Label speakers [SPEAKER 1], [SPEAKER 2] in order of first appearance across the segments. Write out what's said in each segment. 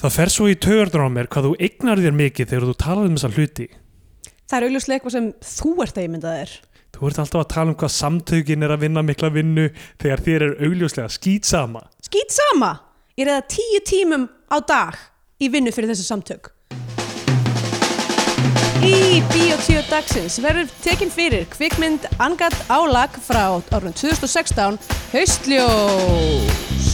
[SPEAKER 1] Það fer svo í tögurnar á mér hvað þú eignar þér mikið þegar þú talar um þessa hluti.
[SPEAKER 2] Það er augljóslega eitthvað sem þú ert að ímynda þér.
[SPEAKER 1] Þú ert alltaf að tala um hvað samtökin er að vinna mikla vinnu þegar þér er augljóslega skýtsama.
[SPEAKER 2] Skýt sama! Ég reyða tíu tímum á dag í vinnu fyrir þessu samtök. Í Bíotíu dagsins verður tekin fyrir kvikmynd Angat Álag frá árun 2016 Haustljós.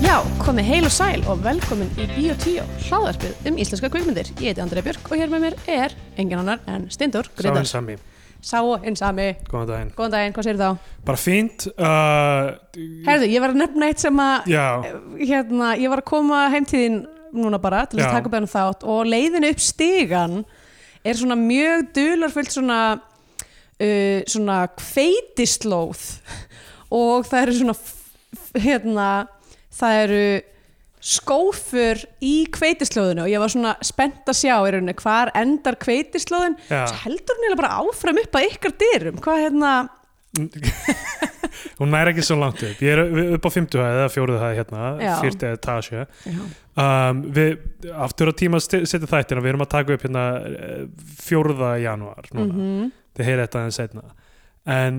[SPEAKER 2] Já, komið heil og sæl og velkomin í Bíotíu, hláðarpið um íslenska kvikmyndir. Ég heiti Andrei Björk og hér með mér er engin annar en Steindor
[SPEAKER 1] Sáin
[SPEAKER 2] Greitar.
[SPEAKER 1] sami.
[SPEAKER 2] Sá hinn sami.
[SPEAKER 1] Góðan daginn.
[SPEAKER 2] Góðan daginn, hvað segir þá?
[SPEAKER 1] Bara fínt. Uh,
[SPEAKER 2] Herðu, ég var að nefna eitt sem að
[SPEAKER 1] já,
[SPEAKER 2] hérna, ég var að koma heim til þín núna bara til
[SPEAKER 1] Já.
[SPEAKER 2] að taka upp hennar þátt og leiðin upp stigan er svona mjög dularfullt svona uh, svona kveitislóð og það eru svona f- f- hérna, það eru skófur í kveitislóðinu og ég var svona spennt að sjá í rauninni hvar endar kveitislóðin
[SPEAKER 1] Já.
[SPEAKER 2] svo heldur hún eiginlega bara áfram upp að ykkar dyrum hvað hérna,
[SPEAKER 1] hún næri ekki svo langt upp. Ég er upp á 50 hæði eða fjóruðu hæði hérna,
[SPEAKER 2] Já.
[SPEAKER 1] 40 etasja.
[SPEAKER 2] já,
[SPEAKER 1] Um, við, aftur á tíma að sti- setja þættina, við erum að taka upp hérna fjóruða janúar
[SPEAKER 2] Mhm,
[SPEAKER 1] núna. þið heyrið þetta aðeins setna en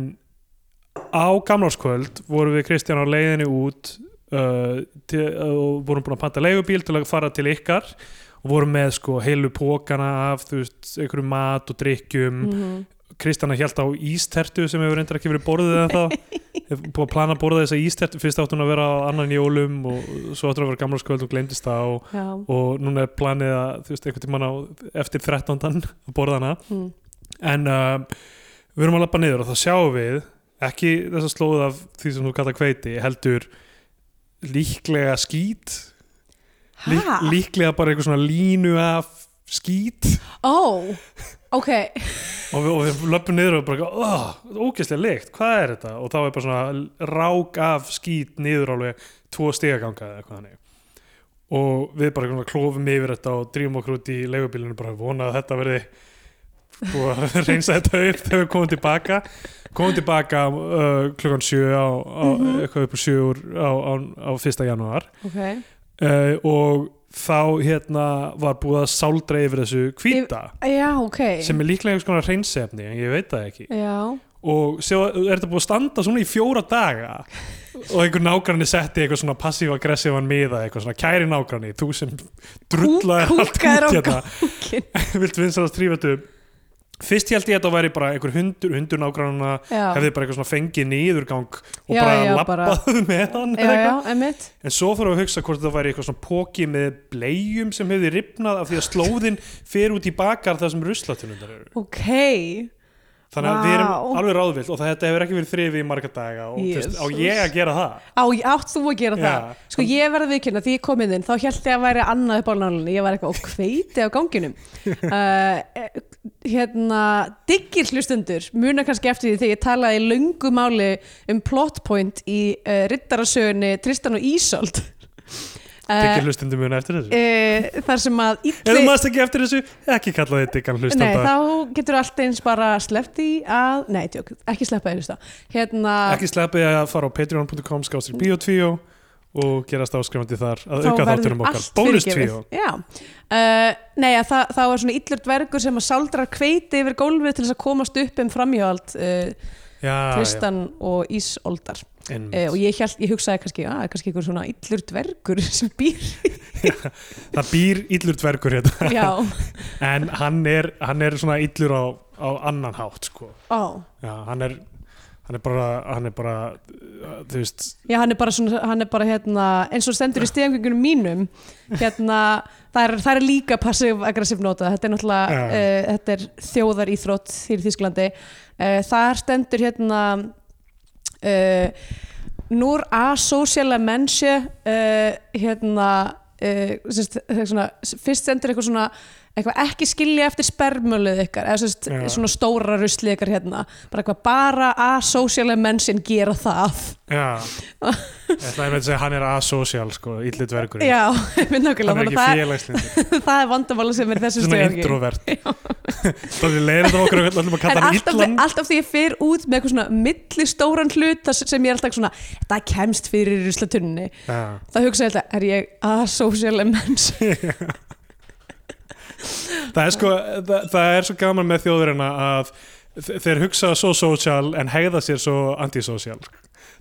[SPEAKER 1] á gamlarskvöld vorum við Kristján á leiðinni út uh, til, og vorum búin að panta leigubíl til að fara til ykkar og vorum með sko heilu pókana af þú veist, einhverju mat og
[SPEAKER 2] mhm,
[SPEAKER 1] drikkjum mm. Kristjana hjælt á ístertu sem hefur reyndar ekki verið borðið en þá hef búin að plana að borða þessa ístertu fyrst átti hún að vera á annan jólum og svo átti hún að vera gamlarskvöld og glemdist það og,
[SPEAKER 2] já,
[SPEAKER 1] og núna er planið að þú veist, einhvern tímann á eftir 13. að borða hana
[SPEAKER 2] mm,
[SPEAKER 1] en um, við erum að lappa niður og þá sjáum við ekki þess að slóð af því sem þú kallar kveiti heldur líklega skít lík,
[SPEAKER 2] Ha?
[SPEAKER 1] líklega bara einhver svona línu af skít
[SPEAKER 2] ó, ok
[SPEAKER 1] og við, og við löpum niður og bara oh, ógeðslega leikt, hvað er þetta? og þá er bara svona rák af skít niður alveg tvo stigaganga eða eitthvað þannig og við bara svona klófum yfir þetta og drýfum okkur út í leigubílinu bara vona að þetta verði og reynsa þetta upp þegar við komum tilbaka komum tilbaka uh, klukkan sjö á, á, eitthvað upp úr sjö úr, á, á, á fyrsta janúar
[SPEAKER 2] Ok,
[SPEAKER 1] uh, og þá hérna var búið að sáldra yfir þessu hvíta
[SPEAKER 2] já, ok
[SPEAKER 1] sem er líklega einhvers konar hreinsefni en ég veit það ekki
[SPEAKER 2] Já,
[SPEAKER 1] og sjá, er þetta búið að standa svona í fjóra daga og einhver nágranni setti eitthvað svona passív-aggressívan miða eitthvað svona kæri nágranni, þú sem drullar
[SPEAKER 2] Kú-
[SPEAKER 1] allt út
[SPEAKER 2] kúkaðir á
[SPEAKER 1] hérna viltu vinsa að strífa þetta fyrst held ég að þetta væri bara einhver hundur hundur nágrannana
[SPEAKER 2] já,
[SPEAKER 1] hefði bara eitthvað svona fengið niðurgang og
[SPEAKER 2] Já,
[SPEAKER 1] bara
[SPEAKER 2] já,
[SPEAKER 1] labbað með hann eða
[SPEAKER 2] já,
[SPEAKER 1] eitthvað.
[SPEAKER 2] já, emitt
[SPEAKER 1] en svo þurfum við að hugsa hvort það væri eitthvað svona póki með bleium sem hefði ripnað af því að slóðin fer út í bakar þar sem ruslatunundar eru
[SPEAKER 2] Ok,
[SPEAKER 1] þannig að við
[SPEAKER 2] Vá.
[SPEAKER 1] erum alveg ráðvilt og þetta hefur ekki verið þrifi í marga daga og þú veist, á
[SPEAKER 2] Jesus.
[SPEAKER 1] ég að gera það
[SPEAKER 2] á, átt þú að gera
[SPEAKER 1] Já.
[SPEAKER 2] það Sko, ég verði viðkynna, því ég kom inn þinn þá held ég að væri annað upp á nálinni ég var eitthvað og kveiti á ganginum uh, eh, Hérna, diggir hlustendur muna kannski eftir því þegar ég talaði í löngu máli um plot point í uh, riddarasögunni Tristan og Ísold
[SPEAKER 1] tekið hlustundum mjög eftir þessu
[SPEAKER 2] Uh, þar sem að
[SPEAKER 1] ef þú
[SPEAKER 2] illi
[SPEAKER 1] maðurst ekki eftir þessu, ekki kalla þetta ykkan
[SPEAKER 2] Nei,
[SPEAKER 1] hlustanda
[SPEAKER 2] þá getur allt eins bara sleppt í að, nei, tjók, ekki sleppa í hlusta hérna,
[SPEAKER 1] ekki sleppið að fara á patreon.com
[SPEAKER 2] Mm.
[SPEAKER 1] skástir biotvíó og gerast áskrifandi þar að auka þáttunum okkar bónustvíó
[SPEAKER 2] Já, uh, nei, að það, þá er svona illur dvergur sem að sáldrar kveiti yfir gólfið til þess að komast upp um framhjóald uh,
[SPEAKER 1] Ah, já, já,
[SPEAKER 2] Tristan og Ísoldar
[SPEAKER 1] einmitt.
[SPEAKER 2] uh, og ég, held, ég hugsaði kannski, að, kannski einhver svona illur dvergur sem býr,
[SPEAKER 1] það býr illur dvergur hérna
[SPEAKER 2] já,
[SPEAKER 1] en hann er, hann er svona illur á, á annan hátt sko.
[SPEAKER 2] ó
[SPEAKER 1] já, hann er hann er bara, hann er bara uh, þú veist,
[SPEAKER 2] Já, hann er bara, svona, hann er bara hérna, eins og stendur í stegangöngunum mínum hérna, það er, það er líka passiv-aggressiv nota, þetta er náttúrulega
[SPEAKER 1] Já.
[SPEAKER 2] uh, þetta er þjóðar íþrótt í Þýsklandi uh, þar stendur hérna uh, Núr asociala eh, mennsje uh, hérna uh, sérst, það er svona, fyrst stendur eitthvað svona eitthvað ekki skilja eftir spermulið ykkar eða sest,
[SPEAKER 1] Já.
[SPEAKER 2] svona stóra ruslið ykkar hérna bara eitthvað bara asociale menn sem gera það
[SPEAKER 1] Já, ég ætla einmitt að segja hann er asocial sko, illi dvergur
[SPEAKER 2] já, ég minn nákvæmlega
[SPEAKER 1] hann er
[SPEAKER 2] þannig
[SPEAKER 1] ekki
[SPEAKER 2] að
[SPEAKER 1] félagslindur,
[SPEAKER 2] það, það er vandamála sem er í þessu
[SPEAKER 1] svona
[SPEAKER 2] stöðungi
[SPEAKER 1] introvert það er leiðið af okkur öllum að
[SPEAKER 2] En
[SPEAKER 1] kalla hann
[SPEAKER 2] alltaf,
[SPEAKER 1] illan
[SPEAKER 2] alltaf því ég fer út með eitthvað svona millistóran hlut þar sem ég er alltaf svona, það kemst fyrir í ruslatunni,
[SPEAKER 1] Já.
[SPEAKER 2] það hugsa ég alltaf er ég asociale menns
[SPEAKER 1] það er sko það, það er svo gaman með þjóðurina að þe- þeir hugsa svo social en hegða sér svo antisocial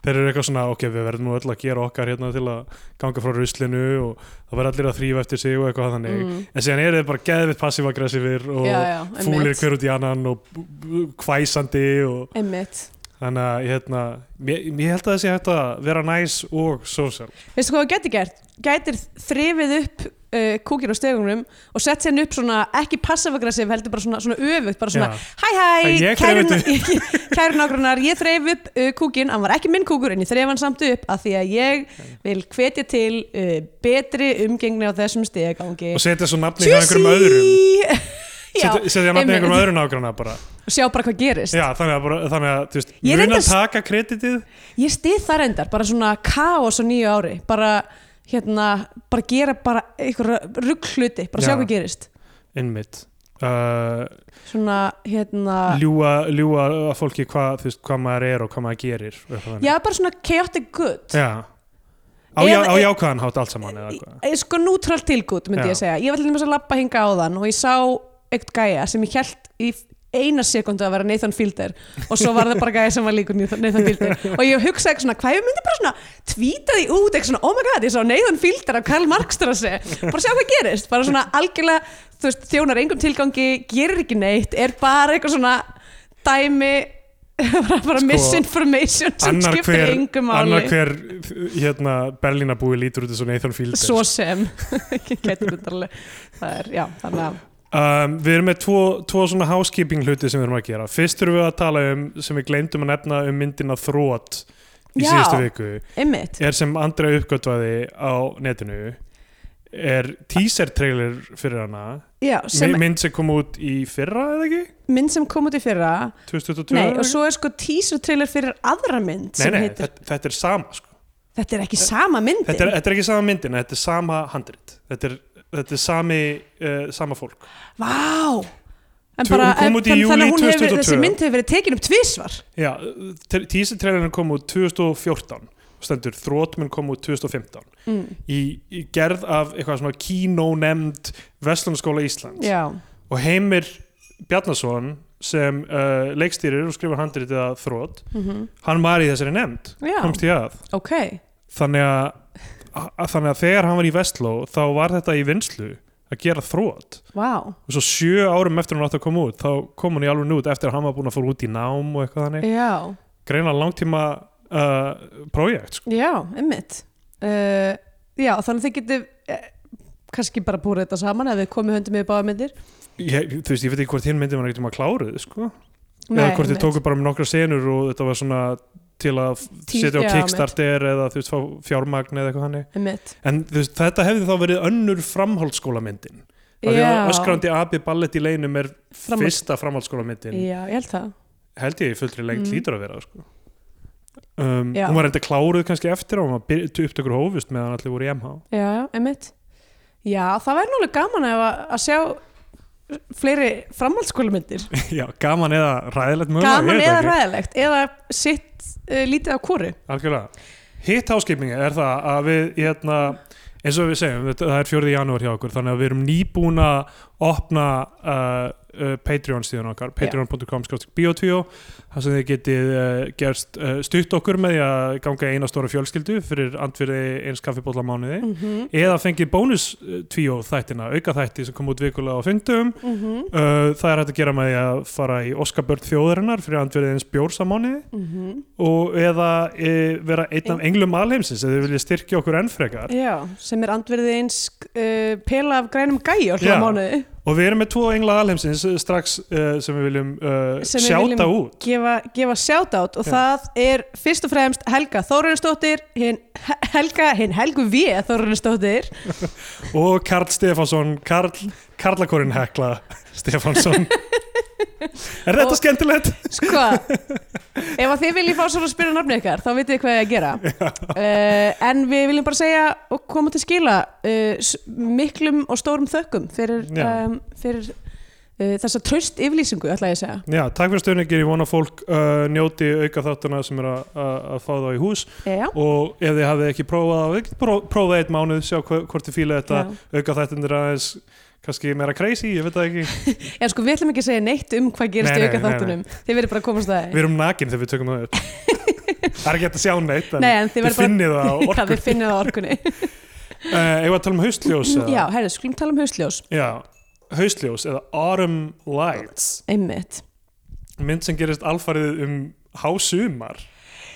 [SPEAKER 1] þeir eru eitthvað svona, ok, við verðum nú öll að gera okkar hérna til að ganga frá ruslinu og það verður allir að þrýfa eftir sig og eitthvað þannig
[SPEAKER 2] Mm.
[SPEAKER 1] en síðan eru þeir bara geðvitt passív-aggressífir og
[SPEAKER 2] Já, já,
[SPEAKER 1] fúlir
[SPEAKER 2] einmitt.
[SPEAKER 1] hver út í annan og b- b- hvæsandi og
[SPEAKER 2] Einmitt.
[SPEAKER 1] þannig að ég, hérna, ég, ég held að það sé hægt að vera næs og social
[SPEAKER 2] Veistu hvað þú getur gert? Gætir þrifið upp uh, kúkir á stegunum og sett sér upp svona, ekki passavagressiv, heldur bara svona, svona öfugt, bara svona,
[SPEAKER 1] Já.
[SPEAKER 2] hæ hæ,
[SPEAKER 1] Ég
[SPEAKER 2] kæru
[SPEAKER 1] þreif
[SPEAKER 2] kæru nágrannar, ég þreif upp uh, kúkin, hann var ekki minn kúkur en ég þreif hann samt upp af því að ég vil hvetja til uh, betri umgengni á þessum stegangi.
[SPEAKER 1] og setja svo nafni hjá einhverjum öðrum
[SPEAKER 2] Já,
[SPEAKER 1] setja setja nafni hjá
[SPEAKER 2] einmitt.
[SPEAKER 1] einhverjum öðrum nágrana bara
[SPEAKER 2] og sjá bara hvað gerist
[SPEAKER 1] Já, þannig að, bara, þannig að þú veist, mun
[SPEAKER 2] Ég
[SPEAKER 1] að
[SPEAKER 2] reyndar-
[SPEAKER 1] taka kreditið
[SPEAKER 2] ég stið það reyndar, bara svona kaos á nýju ári, bara hérna, bara gera bara einhverja ruggluti, bara sjá
[SPEAKER 1] Já.
[SPEAKER 2] hvað gerist
[SPEAKER 1] innmitt uh,
[SPEAKER 2] svona hérna
[SPEAKER 1] ljúa, ljúa að fólki hvað, þú veist, hvað maður er og hvað maður gerir og eitthvað þannig.
[SPEAKER 2] já, bara svona chaotic good
[SPEAKER 1] Já. Á,
[SPEAKER 2] Eða-
[SPEAKER 1] já, á jákvæðan hátt allt saman eða eitthvað
[SPEAKER 2] Ég- sko neutral til good, myndi
[SPEAKER 1] Já.
[SPEAKER 2] ég segja ég var til þess að lappa hinga á þann og ég sá eitt gæja sem ég held í eina sekundu að vera Nathan Fielder og svo var það bara gæja sem var líkur Nathan Nathan Fielder og ég hugsaði eitthvað svona, hvað ég myndi bara svona tvíta því út, eitthvað svona, oh my god, ég sá Nathan Fielder af Karl Markstrassi, bara sjá hvað gerist bara svona algjörlega, þú veist, þjónar engum tilgangi, gerir ekki neitt er bara eitthvað svona dæmi bara, bara misinformation sem
[SPEAKER 1] Sko, Annar
[SPEAKER 2] skiptir
[SPEAKER 1] hver-
[SPEAKER 2] engum máli
[SPEAKER 1] Annar hver hérna, Berlínabúi lítur út eins og Nathan Fielder
[SPEAKER 2] svo sem getur þetta alveg það er, já, þannig að
[SPEAKER 1] um, Við erum með tvo, tvo svona housekeeping hluti sem við erum að gera Fyrst erum við að tala um sem við gleymdum að nefna um myndina Þrótt í
[SPEAKER 2] Já.
[SPEAKER 1] síðustu viku
[SPEAKER 2] einmitt,
[SPEAKER 1] er sem Andra uppgötvaði á netinu er teaser trailer fyrir hana
[SPEAKER 2] já,
[SPEAKER 1] sem
[SPEAKER 2] sem
[SPEAKER 1] mynd sem kom út í fyrra eða ekki?
[SPEAKER 2] mynd sem kom út í fyrra
[SPEAKER 1] 2022?
[SPEAKER 2] nei,
[SPEAKER 1] eða
[SPEAKER 2] og
[SPEAKER 1] ekki?
[SPEAKER 2] svo er sko teaser trailer fyrir aðra mynd
[SPEAKER 1] nei,
[SPEAKER 2] sem
[SPEAKER 1] nei
[SPEAKER 2] heitir,
[SPEAKER 1] þetta, þetta er sama sko.
[SPEAKER 2] þetta, er ekki sama myndin
[SPEAKER 1] þetta, er, þetta er ekki sama myndin, þetta er sama handrit þetta er, þetta er sami, uh, sama fólk
[SPEAKER 2] vá en
[SPEAKER 1] Tvö-
[SPEAKER 2] bara,
[SPEAKER 1] hún kom
[SPEAKER 2] en-
[SPEAKER 1] út í
[SPEAKER 2] þann-
[SPEAKER 1] júlí
[SPEAKER 2] hún hefur, verið-
[SPEAKER 1] 2022.
[SPEAKER 2] þessi mynd hefur verið tekin upp tvísvar
[SPEAKER 1] Já, te- teaser trailerinn kom út 2014 og stendur þrótminn kom út 2015
[SPEAKER 2] mm.
[SPEAKER 1] í, í gerð af eitthvað svona kínónemnd Vestlunarskóla Íslands
[SPEAKER 2] já,
[SPEAKER 1] og Heimir Bjarnason sem uh, leikstýrir og skrifar handritið að þrótt
[SPEAKER 2] mm
[SPEAKER 1] hann var í þessari nefnd,
[SPEAKER 2] já,
[SPEAKER 1] komst í að
[SPEAKER 2] ok
[SPEAKER 1] þannig að, að þannig að þegar hann var í Vestló þá var þetta í vinslu að gera þrótt
[SPEAKER 2] vá,
[SPEAKER 1] og svo sjö árum eftir hann átti að koma út þá kom hann í alveg út eftir að hann var búin að fóra út í nám og eitthvað þannig,
[SPEAKER 2] já
[SPEAKER 1] greina langtíma uh, projekt sko.
[SPEAKER 2] já, einmitt uh, já, þannig að þið getur eh, kannski bara búið þetta saman ef við komið höndum yfir báða myndir
[SPEAKER 1] ég, þú veist, ég veit ekki hvort hinn myndi var ekkert um að kláru sko. eða
[SPEAKER 2] Nei,
[SPEAKER 1] hvort þið
[SPEAKER 2] einmitt.
[SPEAKER 1] tóku bara um nokkra senur og þetta var svona til að f-
[SPEAKER 2] Tí-
[SPEAKER 1] setja á
[SPEAKER 2] já,
[SPEAKER 1] Kickstarter eða þú veist, fá fjármagn eða eitthvað hannig
[SPEAKER 2] einmitt
[SPEAKER 1] en þú veist, þetta hefði þá verið önnur framhaldsskólamyndin af því
[SPEAKER 2] Já.
[SPEAKER 1] að öskrandi abi ballett í leinum er
[SPEAKER 2] Framhalds-
[SPEAKER 1] fyrsta framhaldsskólamyndin
[SPEAKER 2] Já, ég held það.
[SPEAKER 1] held ég í fullri lengt
[SPEAKER 2] Mm.
[SPEAKER 1] lítur að vera sko. um,
[SPEAKER 2] Já.
[SPEAKER 1] hún var enda kláruð kannski eftir og hún var byr- upptökur hófust meðan allir voru í MH
[SPEAKER 2] Já, já, einmitt. Já, það væri nálega gaman ef að, að sjá fleiri framhaldsskólamyndir.
[SPEAKER 1] já, gaman eða ræðilegt mögulega, ég
[SPEAKER 2] Gaman
[SPEAKER 1] veit
[SPEAKER 2] eða
[SPEAKER 1] ekki.
[SPEAKER 2] ræðilegt, eða sitt uh, lítið á kóru.
[SPEAKER 1] Algjörlega. Hitt áskipningi er það að við hérna, eins og við segjum, þetta- það er 4. janúar hjá okkur, þannig að við erum nýbúin að opna uh, uh, Patreon síðan okkar, patreon.com biotvíó, þar sem þið getið uh, gerst uh, stutt okkur með því að ganga í eina stóra fjölskyldu fyrir andfyrði eins kaffibólla á mánuði
[SPEAKER 2] Mm -hmm.
[SPEAKER 1] eða fengið bónus uh, tvíó þættina, auka þætti sem kom út vikulega á fundum
[SPEAKER 2] Mhm.
[SPEAKER 1] uh, það er hægt að gera með því að fara í Óskabörn þjóðarinnar fyrir andfyrði eins bjórs á mánuði
[SPEAKER 2] Mhm.
[SPEAKER 1] og eða e, vera einn af englum alheimsins eða þið viljið styrkja okkur enn frekar
[SPEAKER 2] Já, sem er andverðið eins uh, pela af grænum gæjur
[SPEAKER 1] Já.
[SPEAKER 2] hljóð mánuði.
[SPEAKER 1] og og við erum með tvo engla alheimsins eh, strax uh, sem við viljum uh,
[SPEAKER 2] Sem við
[SPEAKER 1] sjáta
[SPEAKER 2] viljum-
[SPEAKER 1] út
[SPEAKER 2] gefa, gefa shoutout og
[SPEAKER 1] Já.
[SPEAKER 2] það er fyrst og fremst Helga Þórarinsdóttir hinn Helga, hinn Helgu V Þórarinsdóttir
[SPEAKER 1] og Karl Stefánsson Karl, Karlakorinn Hekla Stefánsson Er þetta
[SPEAKER 2] Og-
[SPEAKER 1] skemmtilegt?
[SPEAKER 2] sko, ef að þið viljið fá svona að spyrja nafnið ykkar, þá vitið þið hvað ég að gera uh, en við viljum bara segja og koma til skila uh, s- miklum og stórum þökkum fyrir,
[SPEAKER 1] Já.
[SPEAKER 2] um, fyrir uh, þessa tröst yflýsingu, ætla ég að segja
[SPEAKER 1] Já, takk fyrir stöðningir, ég vona að fólk uh, njóti auka þáttuna sem er að- að að fá þá í hús
[SPEAKER 2] Já,
[SPEAKER 1] og ef þið hafið ekki prófað það, þið getið pró- prófað eitt mánuð, sjá hva- hvort þið fílið þetta
[SPEAKER 2] já.
[SPEAKER 1] auka þættundir aðeins kannski meira crazy, ég veit það ekki
[SPEAKER 2] Já, sko, við ætlum ekki að segja neitt um hvað gerist
[SPEAKER 1] Nei,
[SPEAKER 2] í
[SPEAKER 1] nei,
[SPEAKER 2] auka
[SPEAKER 1] nei, nei.
[SPEAKER 2] þáttunum Þið verður bara að komast það
[SPEAKER 1] Við erum nakin þegar við tökum það upp Það er ekki hægt að sjá neitt en
[SPEAKER 2] Nei, en þið
[SPEAKER 1] þið
[SPEAKER 2] verður bara
[SPEAKER 1] finnið það á
[SPEAKER 2] Já,
[SPEAKER 1] orku
[SPEAKER 2] þið finnið það á orkunni
[SPEAKER 1] uh, Eða að tala um haustljós eða-
[SPEAKER 2] Já, herri, skulum tala um hausljós
[SPEAKER 1] Já, haustljós eða autumn lights
[SPEAKER 2] Einmitt
[SPEAKER 1] mynd sem gerist alfarið um hásumar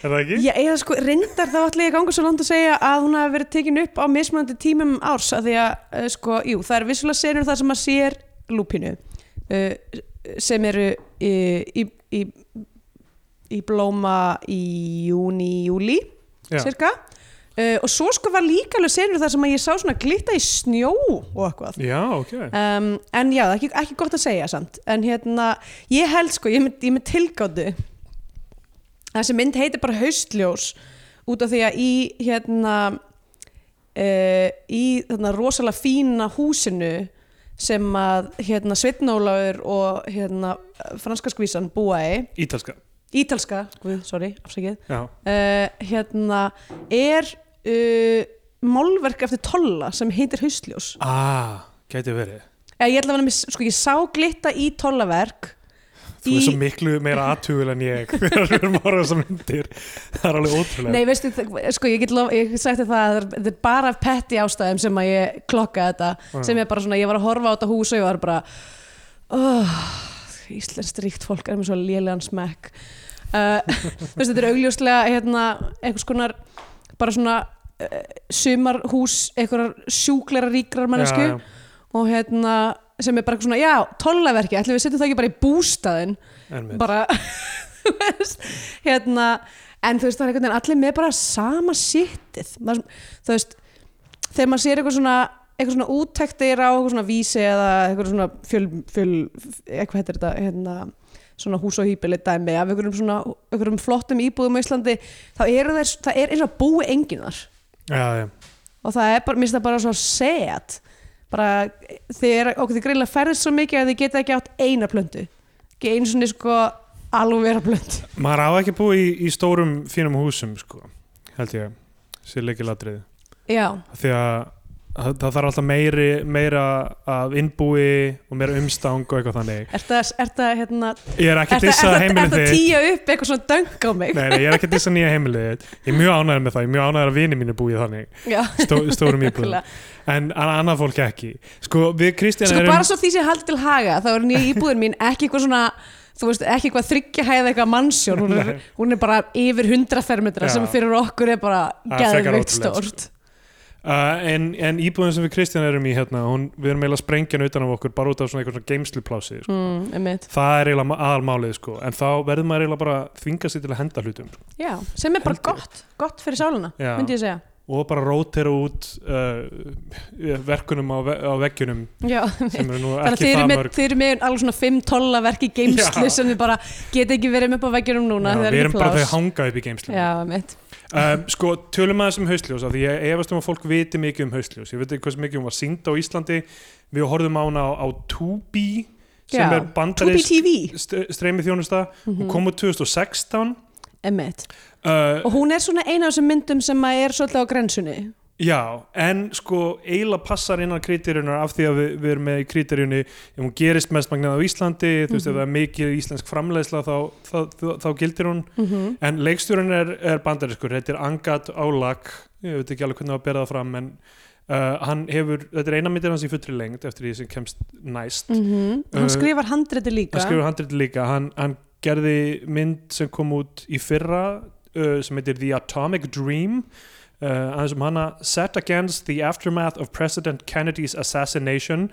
[SPEAKER 1] er það ekki?
[SPEAKER 2] Já, eða sko, reyndar þá ætla ég að ganga svo langt að segja að hún hafi verið tekin upp á mismunandi tímum árs að því að, eh, sko, jú, það er vissulega senur þar sem maður sér lúpinu uh, sem eru í, í, í, í blóma í júni, júli
[SPEAKER 1] Já.
[SPEAKER 2] cirka uh, og svo sko var líka alveg senur þar sem að ég sá svona glitta í snjó og eitthvað
[SPEAKER 1] Já, ok
[SPEAKER 2] Um, en já, það er ekki, ekki gott að segja samt en hérna, ég held sko ég er með- ég er með tilgáttu þessi mynd heitir bara haustljós út af því að í hérna uh, í þarna rosalega fína húsinu sem að hérna Sveitnólaur og hérna franska skvísan búa í
[SPEAKER 1] Ítalska
[SPEAKER 2] ítalska, guð, sorry, afsakið
[SPEAKER 1] Já,
[SPEAKER 2] uh, hérna er uh, málverk eftir tolla sem heitir haustljós
[SPEAKER 1] ah, gæti verið
[SPEAKER 2] Eða ég ætla að vera með, sko ég sá glitta í tollaverk
[SPEAKER 1] Þú
[SPEAKER 2] Í-
[SPEAKER 1] er svo miklu meira aðtugul en ég þegar við erum að horfa á þessar myndir Það er alveg ótrúlega
[SPEAKER 2] Nei, veistu, þ- sko ég get lof, ég get sagt þér það að þetta er bara af petti ástæðum sem að ég klokka þetta
[SPEAKER 1] Mm.
[SPEAKER 2] sem er bara svona, ég var að horfa á þetta hús og ég var bara oh, Íslenskt ríkt fólk er með svo lélegan smekk uh, Þú veist, þetta er augljóslega hérna, einhvers konar bara svona uh, sumarhús, einhverjar sjúklara ríkrar mannesku
[SPEAKER 1] Já,
[SPEAKER 2] og hérna sem er bara svona, já, tollaverki ætlum við setjum það ekki bara í bústaðinn
[SPEAKER 1] já, einmitt.
[SPEAKER 2] bara þú veist, hérna en þú veist það er einhvern veginn allir með bara sama sittið Maður- þú veist þegar maður sér eitthvað svona eitthvað svona úttektir á eitthvað svona vísi eða eitthvað svona fjöl, fjöl eitthvað heitir þetta hérna svona hús og hýpili dæmi af einhverjum svona einhverjum flottum íbúðum á Íslandi þá eru þeir, það er eins og að búi enginn þar
[SPEAKER 1] já, já.
[SPEAKER 2] og það er bara, mér finnst það bara svo set bara þeir, okkur þið greinlega ferðist svo mikið að þið geta ekki átt eina plöndu ekki einu svona sko alveg vera plönd
[SPEAKER 1] Maður á ekki að búa í, í stórum fínum húsum sko, held ég sér leikilatrið
[SPEAKER 2] já,
[SPEAKER 1] því að það það þarf alltaf meiri, meira af innbúi og meira umstang og eitthvað þannig
[SPEAKER 2] er það hérna
[SPEAKER 1] Ég er ekki
[SPEAKER 2] er
[SPEAKER 1] að dissa heimilið
[SPEAKER 2] það
[SPEAKER 1] þitt
[SPEAKER 2] tíja upp eitthvað svona döng á mig
[SPEAKER 1] Nei, nei, ég er ekki að dissa nýja heimilið þitt Ég er mjög ánægður með það, ég er mjög ánægður að vini mínu búið þannig
[SPEAKER 2] já,
[SPEAKER 1] stó, stórum íbúðum
[SPEAKER 2] nákvæmlega.
[SPEAKER 1] en an- annað fólk ekki Sko, við Kristján
[SPEAKER 2] sko
[SPEAKER 1] erum
[SPEAKER 2] bara svo því sem haldi til haga þá er nýja íbúðin mín ekki eitthvað svona þú veist, ekki eitthvað þryggja hæða eitthvað mannsjón hún er,
[SPEAKER 1] Nei.
[SPEAKER 2] hún er bara yfir 100 fermetra
[SPEAKER 1] Já.
[SPEAKER 2] sem fyrir okkur er bara
[SPEAKER 1] Það er frekar ótrúlegt,
[SPEAKER 2] geðveikt
[SPEAKER 1] sko.
[SPEAKER 2] stórt
[SPEAKER 1] uh, en, en íbúðum sem við Kristján erum í hérna, hún, við erum eiginlega sprengjan utan af okkur bara út af svona eitthvað svona geimsluplási sko.
[SPEAKER 2] mm, einmitt.
[SPEAKER 1] Það er eiginlega ma- aðalmálið sko. en þá verður maður eiginlega bara að þvinga sig til að henda hlutum sko.
[SPEAKER 2] já, sem er bara gott, gott fyrir sáluna
[SPEAKER 1] Já.
[SPEAKER 2] myndi ég segja
[SPEAKER 1] og bara rótera út uh, verkunum á, ve á veggjunum
[SPEAKER 2] Já,
[SPEAKER 1] sem eru nú
[SPEAKER 2] þannig að
[SPEAKER 1] ekki
[SPEAKER 2] þið eru
[SPEAKER 1] það
[SPEAKER 2] með,
[SPEAKER 1] mörg
[SPEAKER 2] þið eru með alveg svona 5 tolla verk í geimslu
[SPEAKER 1] Já.
[SPEAKER 2] sem þið bara geta ekki verið með upp á veggjunum núna
[SPEAKER 1] Já,
[SPEAKER 2] þegar
[SPEAKER 1] Við erum
[SPEAKER 2] ekki
[SPEAKER 1] bara þau
[SPEAKER 2] pláss
[SPEAKER 1] hanga upp í geimslum
[SPEAKER 2] Já, mitt
[SPEAKER 1] Um, sko, tölum aðeins um haustljós af því ég efast um að fólk viti mikið um haustljós ég veit ekki hversu mikið hún var sínd á Íslandi við horfðum á hana á, á Tubi sem
[SPEAKER 2] Já,
[SPEAKER 1] er
[SPEAKER 2] 2B
[SPEAKER 1] bandarins
[SPEAKER 2] TV,
[SPEAKER 1] streymið þjónusta
[SPEAKER 2] Mhm,
[SPEAKER 1] hún kom úr 2016
[SPEAKER 2] emitt
[SPEAKER 1] uh,
[SPEAKER 2] Og hún er svona eina af þessum myndum sem að er svolítið á grensunni
[SPEAKER 1] já, en sko eiginlega passar innan krítirjunar af því að við, við erum með í krítirjunni ef hún gerist mest magnað á Íslandi þú veist, ef það er mikið íslensk framleiðsla þá, þá, þá, þá gildir hún
[SPEAKER 2] mm -hmm.
[SPEAKER 1] En leikstjórinn er, er bandariskur, þetta er Angat Álag, ég veit ekki alveg hvernig á að bera það fram, en uh, hann hefur, þetta er eina myndir hans í fullri lengd eftir því sem kemst næst.
[SPEAKER 2] Hann
[SPEAKER 1] Uh,
[SPEAKER 2] Mhm. skrifar handriti líka
[SPEAKER 1] Hann skrifur handrið líka, hann, hann gerði mynd sem kom út í fyrra uh, sem heitir The Atomic Dream, uh, aðeins um hana, Set Against the Aftermath of President Kennedy's Assassination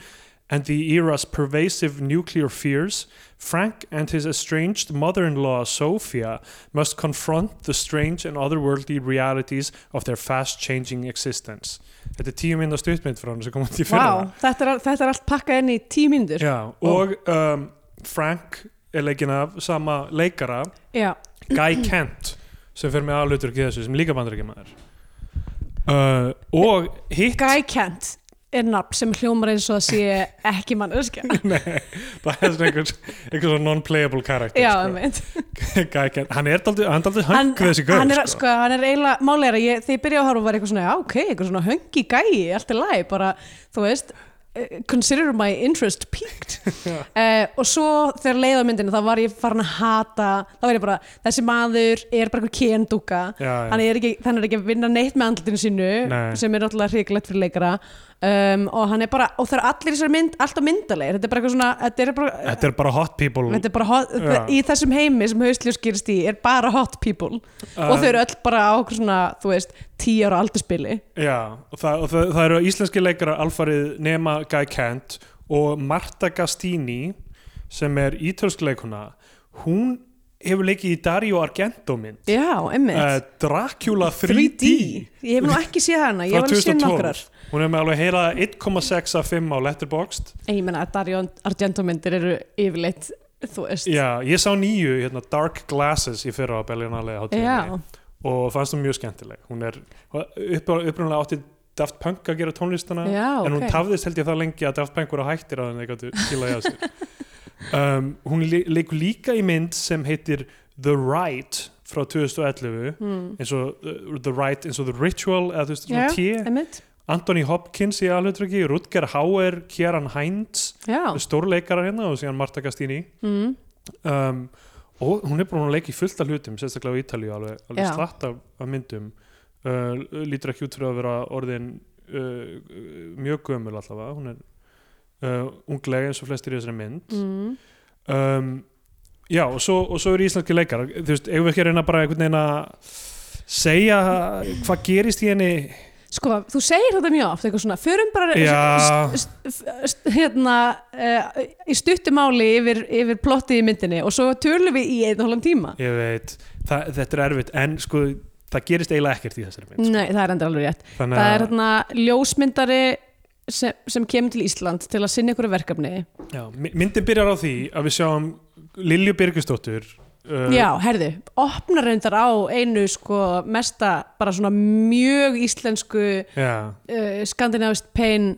[SPEAKER 1] and the era's pervasive nuclear fears, Frank and his estranged mother in law, Sophia, must confront the strange and otherworldly realities of their fast changing existence. Þetta er tíu minna stuttmynd frá hann sem kom út í fyrra.
[SPEAKER 2] Vá, þetta, er, þetta er allt pakkað inn í tímindur
[SPEAKER 1] Já, og um, Frank er leikinn af sama leikara,
[SPEAKER 2] Já,
[SPEAKER 1] Guy Kent, sem fyrir með aðlutur ekki þessu, sem er líka bandur ekki maður. Uh, og hitt
[SPEAKER 2] Guy Kent er nafn sem hljómar eins og það sé ekki manneskja
[SPEAKER 1] Nei, það er svona einhvers, einhvers svona non-playable karakter
[SPEAKER 2] Já,
[SPEAKER 1] sko.
[SPEAKER 2] einmitt.
[SPEAKER 1] Guy Kent, hann er daldið hann er daldið
[SPEAKER 2] hann,
[SPEAKER 1] höng þessi gaur
[SPEAKER 2] hann, er,
[SPEAKER 1] sko.
[SPEAKER 2] sko, hann er eiginlega málega ég, þegar ég byrjaði að horfa var eitthvað svona, já ok, eitthvað svona höngi gæi, allt er læg bara, þú veist, eh, consider my interest peaked
[SPEAKER 1] Já.
[SPEAKER 2] uh, og svo þegar leiða myndinu þá var ég farin að hata þá var ég bara, þessi maður er bara einhver kendúka
[SPEAKER 1] já, já.
[SPEAKER 2] sko- hann er, ekki, hann er ekki að vinna neitt með andlutinu sínu
[SPEAKER 1] Nei.
[SPEAKER 2] sem er náttúrulega hrikalegt fyrir leikara um, og hann er bara, og það er allir í þessari mynd alltaf myndalegir, þetta er bara eitthvað svona þetta er bara,
[SPEAKER 1] þetta er bara hot people
[SPEAKER 2] Þetta er bara hot,
[SPEAKER 1] Já.
[SPEAKER 2] í þessum heimi sem haustljós gerist í er bara hot people
[SPEAKER 1] Uh,
[SPEAKER 2] og þau eru öll bara á okkur svona, þú veist, tíu ára aldurspili
[SPEAKER 1] já, og það, og það, það eru íslenski leikara alfarið nema Guy Kent og Marta Gastini sem er ítölsk leikuna hún hefur leikið í Dario Argento mynd
[SPEAKER 2] Já,
[SPEAKER 1] uh,
[SPEAKER 2] emmitt
[SPEAKER 1] Dracula 3D,
[SPEAKER 2] 3D. Ég hef nú ekki séð hana, ég
[SPEAKER 1] frá
[SPEAKER 2] hef alveg séð nokkrar
[SPEAKER 1] 2012 hún er með alveg heila 1,6 af 5 á Letterboxd
[SPEAKER 2] En Ég menna að Dario Argento myndir eru yfirleitt, þú veist
[SPEAKER 1] Já, ég sá nýju hérna, Dark Glasses í fyrra á Berlinale
[SPEAKER 2] Já,
[SPEAKER 1] hátíðinni og fannst hún mjög skemmtileg hún er upp, upprunalega átti Daft Punk að gera tónlistana
[SPEAKER 2] já,
[SPEAKER 1] en hún
[SPEAKER 2] ok
[SPEAKER 1] tafðist held ég það lengi að Daft Punk voru hættir að henni gætu kílaði að sér um, Hún le leikur líka í mynd sem heitir The Right frá 2011
[SPEAKER 2] mm.
[SPEAKER 1] eins og uh, The Right eins og The Ritual eða þú veist svona
[SPEAKER 2] Já,
[SPEAKER 1] yeah.
[SPEAKER 2] Emmitt,
[SPEAKER 1] Anthony Hopkins í alvegtryggi Rutger Hauer, Kieran Hines
[SPEAKER 2] já
[SPEAKER 1] stórleikarar hérna og síðan Marta Gastini
[SPEAKER 2] mm.
[SPEAKER 1] um, og hún er bara að leika í fullt af hlutum sérstaklega á Ítalíu alveg, alveg
[SPEAKER 2] Já.
[SPEAKER 1] slatt af, af myndum uh, lítur ekki út fyrir að vera orðin uh, mjög gömul allavega hún er uh, unglega eins og flestir í þessari mynd
[SPEAKER 2] Mm.
[SPEAKER 1] um, já og svo, og svo eru íslenski leikar þú veist, eigum við ekki að reyna bara einhvern veginn að segja hvað gerist í henni
[SPEAKER 2] Sko, þú segir þetta mjög oft, eitthvað svona Förum bara
[SPEAKER 1] Já.
[SPEAKER 2] s- s- s- hérna uh, í stuttumáli yfir, yfir plottið í myndinni og svo tölum við í einn og hálfum tíma
[SPEAKER 1] ég veit, það, þetta er erfitt en sko, það gerist eiginlega ekkert í þessari mynd
[SPEAKER 2] Nei, það er endur alveg rétt
[SPEAKER 1] þannig
[SPEAKER 2] Mm. Það er
[SPEAKER 1] að,
[SPEAKER 2] hérna ljósmyndari sem, sem kemur til Ísland til að sinna ykkur verkefni
[SPEAKER 1] já, my- myndin byrjar á því að við sjáum Lilju Birgisdóttur uh,
[SPEAKER 2] Já, herðu, opnar reyndar á einu sko mesta bara svona mjög íslensku
[SPEAKER 1] Já,
[SPEAKER 2] uh, skandinavist pain uh,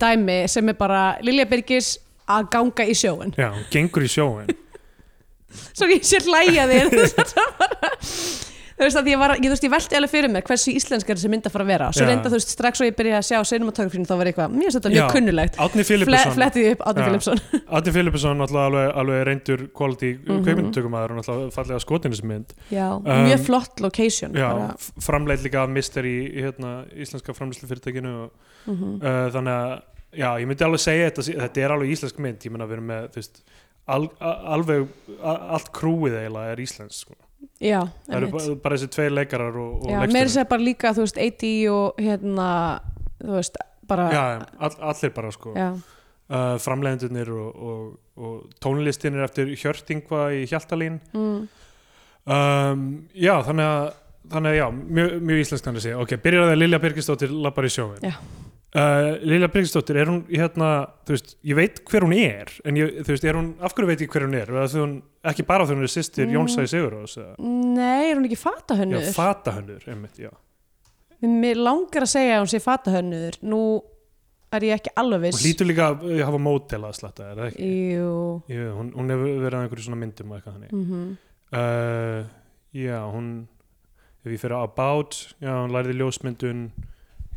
[SPEAKER 2] dæmi sem er bara Lilja Birgis að ganga í sjóin
[SPEAKER 1] já, hún gengur í sjóin
[SPEAKER 2] svo ég sé hlæja þér þú veist, það var bara- þú veist að ég var, ég, þú veist, ég velti alveg fyrir mér hversu íslenskar þessi mynd að fara að vera svo
[SPEAKER 1] Já.
[SPEAKER 2] reynda þú veist, strax og ég byrja að sjá seinumatografinu þá var ég eitthvað, mér finnst þetta
[SPEAKER 1] Já.
[SPEAKER 2] mjög kunnulegt
[SPEAKER 1] Átni
[SPEAKER 2] Fle,
[SPEAKER 1] Filipusson
[SPEAKER 2] flettið upp Átni
[SPEAKER 1] Já.
[SPEAKER 2] Filipsson
[SPEAKER 1] Átni Filipusson náttúrulega alveg, alveg reyndur quality mm
[SPEAKER 2] Mhm.
[SPEAKER 1] -hmm. kveikmyndtökumæður og náttúrulega fallega skotinismynd
[SPEAKER 2] Já,
[SPEAKER 1] Um,
[SPEAKER 2] mjög flott location
[SPEAKER 1] Já,
[SPEAKER 2] bara.
[SPEAKER 1] f- framleitt líka af mister í í, hérna, íslenska framleiðslufyrirtækinu og,
[SPEAKER 2] Mhm.
[SPEAKER 1] uh, þannig að, já, ég myndi alveg segja þetta, sé- þetta er alveg íslensk mynd, ég menna að vera með þú veist, al, a- alveg a- allt krúið eiginlega er íslensk sko.
[SPEAKER 2] Já,
[SPEAKER 1] það eru
[SPEAKER 2] einmitt.
[SPEAKER 1] bara, bara þessi tveir leikarar og, og
[SPEAKER 2] Já, meira
[SPEAKER 1] leikstjóri
[SPEAKER 2] sér bara líka, þú veist, 80 og hérna, þú veist, bara
[SPEAKER 1] Já, já, all, allir bara sko
[SPEAKER 2] já.
[SPEAKER 1] uh, framleiðendurnir og, og, og tónlistin er eftir Hjörtingva í Hjaltalín
[SPEAKER 2] Mm.
[SPEAKER 1] um, Já, þannig að þannig að já, mjög, mjög íslensk þannig að segja ok, byrjar á því að Lilja Birgisdóttir lappar í sjóin
[SPEAKER 2] Já.
[SPEAKER 1] Uh, Lilja Birgisdóttir, er hún hérna, þú veist, ég veit hver hún er en ég, þú veist, er hún, af hverju veit ég hver hún er Eða því hún, ekki bara því hún er sýstir
[SPEAKER 2] Mm.
[SPEAKER 1] mm. Jónsæði Sigurós eða-
[SPEAKER 2] Nei, er hún ekki
[SPEAKER 1] já,
[SPEAKER 2] fatahönnur?
[SPEAKER 1] fata hennur, einmitt, já
[SPEAKER 2] Mér langar að segja að hún sé fatahönnur Nú er ég ekki alveg
[SPEAKER 1] hún
[SPEAKER 2] viss
[SPEAKER 1] lítur líka að eh, hafa mótel að slatta, er það ekki?
[SPEAKER 2] Jú
[SPEAKER 1] Jú, hún, hún hefur verið að einhverju svona myndum og eitthvað þannig
[SPEAKER 2] mm
[SPEAKER 1] Uh, já, hún ef ég fyrir á About já, hún læriði ljósmyndun